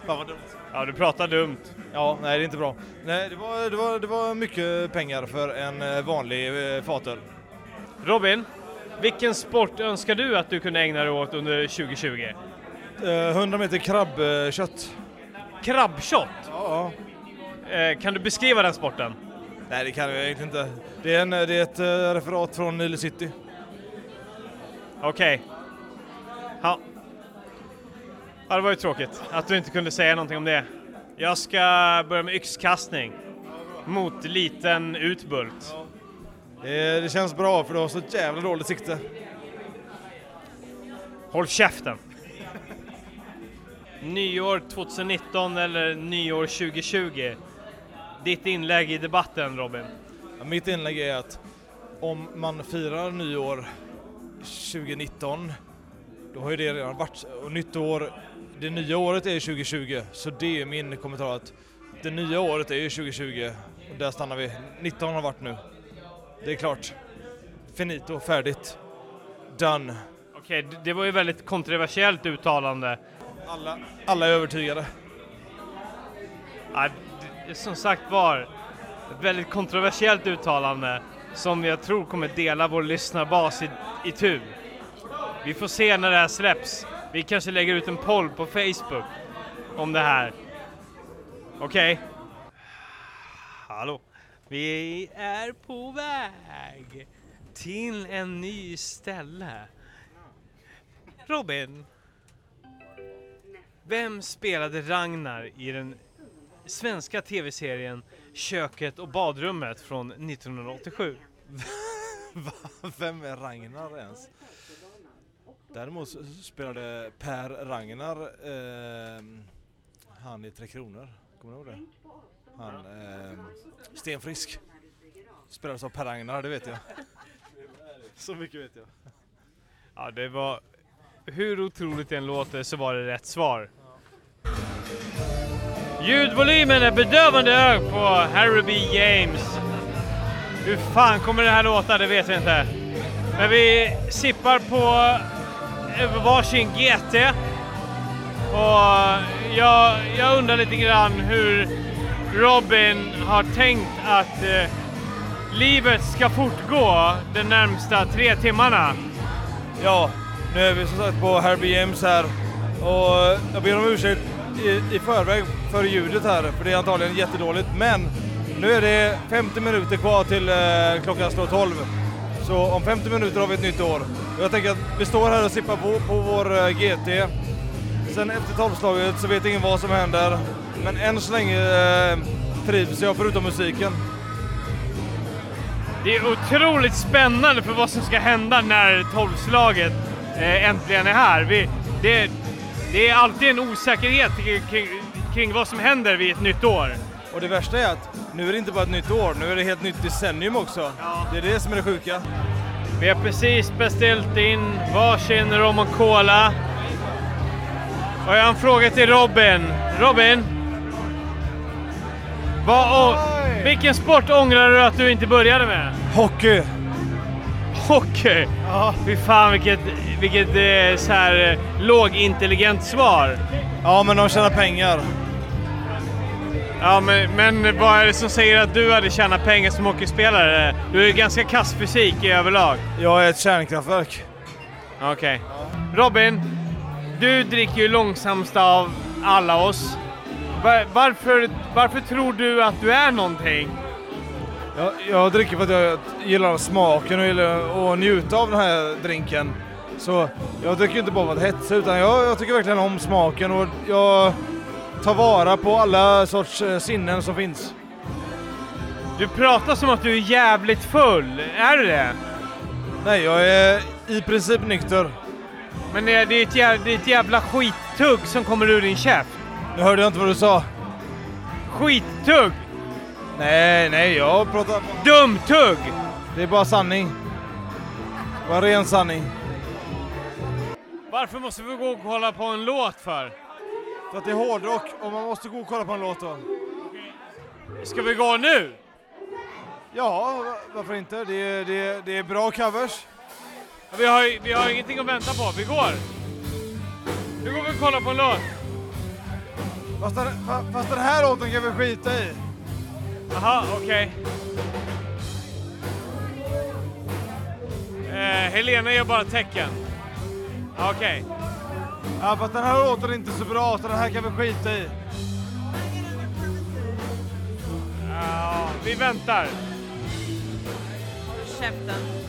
[SPEAKER 2] Fan vad dumt.
[SPEAKER 1] Ja, du pratar dumt.
[SPEAKER 2] Ja, nej det är inte bra. Nej, det var, det var, det var mycket pengar för en eh, vanlig eh, fatöl.
[SPEAKER 1] Robin, vilken sport önskar du att du kunde ägna dig åt under 2020?
[SPEAKER 2] Eh, 100 meter krabbkött.
[SPEAKER 1] Krabbshot!
[SPEAKER 2] Ja.
[SPEAKER 1] Eh, kan du beskriva den sporten?
[SPEAKER 2] Nej, det kan jag egentligen inte. Det är, en, det är ett eh, referat från Nile City.
[SPEAKER 1] Okej. Ja. ja, det var ju tråkigt att du inte kunde säga någonting om det. Jag ska börja med yxkastning mot liten utbult.
[SPEAKER 2] Det, det känns bra för du har så jävla dåligt sikte.
[SPEAKER 1] Håll käften! Nyår 2019 eller nyår 2020? Ditt inlägg i debatten Robin.
[SPEAKER 2] Ja, Mitt inlägg är att om man firar nyår 2019, då har ju det redan varit. Och nytt år, det nya året är ju 2020, så det är min kommentar att det nya året är ju 2020 och där stannar vi. 19 har varit nu. Det är klart. Finito, färdigt. Done.
[SPEAKER 1] Okej, d- det var ju väldigt kontroversiellt uttalande.
[SPEAKER 2] Alla, alla är övertygade.
[SPEAKER 1] Ja, d- som sagt var, ett väldigt kontroversiellt uttalande som jag tror kommer dela vår lyssnarbas i, i tu. Vi får se när det här släpps. Vi kanske lägger ut en poll på Facebook om det här. Okej? Hallå? Vi är på väg till en ny ställe. Robin, vem spelade Ragnar i den svenska tv-serien Köket och badrummet från 1987.
[SPEAKER 2] Vem är Ragnar ens? Däremot så spelade Per Ragnar ehm, han i Tre Kronor. Kommer du ihåg det? Han ehm, Sten Frisk. Spelades av Per Ragnar, det vet jag. Så mycket vet jag.
[SPEAKER 1] Ja, det var... Hur otroligt det än låter så var det rätt svar. Ljudvolymen är bedövande hög på Harry B. James. Hur fan kommer det här låta? Det vet vi inte. Men vi sippar på eh, varsin GT. Och jag, jag undrar lite grann hur Robin har tänkt att eh, livet ska fortgå de närmsta tre timmarna.
[SPEAKER 2] Ja, nu är vi som sagt på Herbie James här och eh, jag ber om ursäkt i, i förväg för ljudet här för det är antagligen jättedåligt men nu är det 50 minuter kvar till eh, klockan slår 12. Så om 50 minuter har vi ett nytt år. Och jag tänker att vi står här och sippar på, på vår eh, GT. Sen efter tolvslaget så vet ingen vad som händer. Men än så länge eh, trivs jag förutom musiken.
[SPEAKER 1] Det är otroligt spännande för vad som ska hända när tolvslaget eh, äntligen är här. Vi, det, det är alltid en osäkerhet kring, kring- kring vad som händer vid ett nytt år.
[SPEAKER 2] Och det värsta är att nu är det inte bara ett nytt år, nu är det helt nytt decennium också.
[SPEAKER 1] Ja.
[SPEAKER 2] Det är det som är det sjuka.
[SPEAKER 1] Vi har precis beställt in varsin rom och cola. Och jag har en fråga till Robin. Robin! Vad, å-
[SPEAKER 2] Oj!
[SPEAKER 1] vilken sport ångrar du att du inte började med?
[SPEAKER 2] Hockey!
[SPEAKER 1] Hockey!
[SPEAKER 2] Ja.
[SPEAKER 1] Fy fan vilket, vilket eh, så här, eh, lågintelligent svar.
[SPEAKER 2] ja, men de tjänar pengar.
[SPEAKER 1] Ja, men, men vad är det som säger att du hade tjänat pengar som hockeyspelare? Du är ju ganska kass fysik i överlag.
[SPEAKER 2] Jag är ett kärnkraftverk.
[SPEAKER 1] Okej. Robin, du dricker ju långsammast av alla oss. Va- Varför, varför tror du att du är någonting?
[SPEAKER 2] Jag, jag dricker för att jag gillar smaken och gillar att njuta av den här drinken. Så jag dricker inte bara för att hetsa utan jag, jag tycker verkligen om smaken och jag tar vara på alla sorts eh, sinnen som finns.
[SPEAKER 1] Du pratar som att du är jävligt full. Är du det?
[SPEAKER 2] Nej, jag är i princip nykter.
[SPEAKER 1] Men eh, det är ett jävla, det är ett jävla skittugg som kommer ur din käft.
[SPEAKER 2] Nu hörde jag inte vad du sa.
[SPEAKER 1] Skittugg!
[SPEAKER 2] Nej, nej, jag pratar...
[SPEAKER 1] Dumtugg!
[SPEAKER 2] Det är bara sanning. Bara ren sanning.
[SPEAKER 1] Varför måste vi gå och kolla på en låt för?
[SPEAKER 2] För att det är hårdrock och man måste gå och kolla på en låt då.
[SPEAKER 1] Ska vi gå nu?
[SPEAKER 2] Ja, va- varför inte? Det är, det är, det är bra covers.
[SPEAKER 1] Vi har, ju- vi har ingenting att vänta på, vi går! Nu går vi och kollar på en låt.
[SPEAKER 2] Fast den, fa- fast den här låten kan vi skita i.
[SPEAKER 1] Aha, okej. Eh, Helena gör bara tecken. Ja, Okej.
[SPEAKER 2] Ja, fast den här låten är inte så bra så den här kan vi skita i.
[SPEAKER 1] Ja, vi väntar.
[SPEAKER 3] Käften.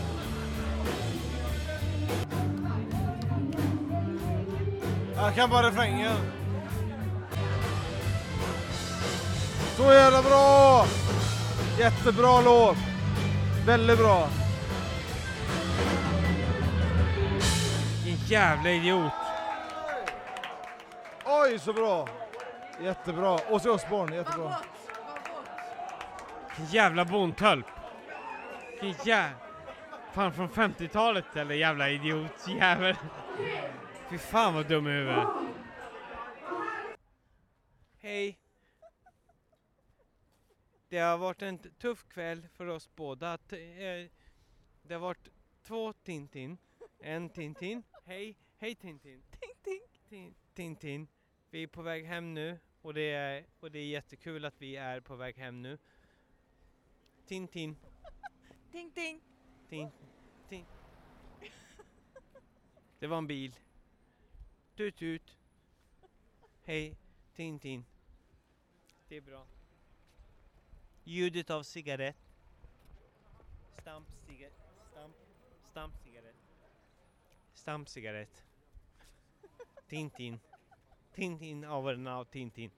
[SPEAKER 2] Jag kan bara refrängen. Så jävla bra! Jättebra låt. Väldigt bra.
[SPEAKER 1] Vilken jävla idiot.
[SPEAKER 2] Oj, så bra! Jättebra. Ozzy Osbourne, jättebra.
[SPEAKER 1] Vilken jävla bontölp. Vilken jävla... Fan från 50-talet eller jävla idiot jävel. Fy fan vad dum i huvudet. Hej. Det har varit en t- tuff kväll för oss båda. T- eh, det har varit två Tintin. En Tintin. Hej, hej Tintin. Tintin. Tintin. Vi är på väg hem nu och det är, och det är jättekul att vi är på väg hem nu. Tintin.
[SPEAKER 3] Ting, ting.
[SPEAKER 1] Ting, ting. Det var en bil. Tut tut. Hej, Tintin. Det är bra. Ljudet av cigarett. Stamp cigarett. Stamp, stamp cigarett. Stamp cigarett. Tintin. Tintin av en av Tintin.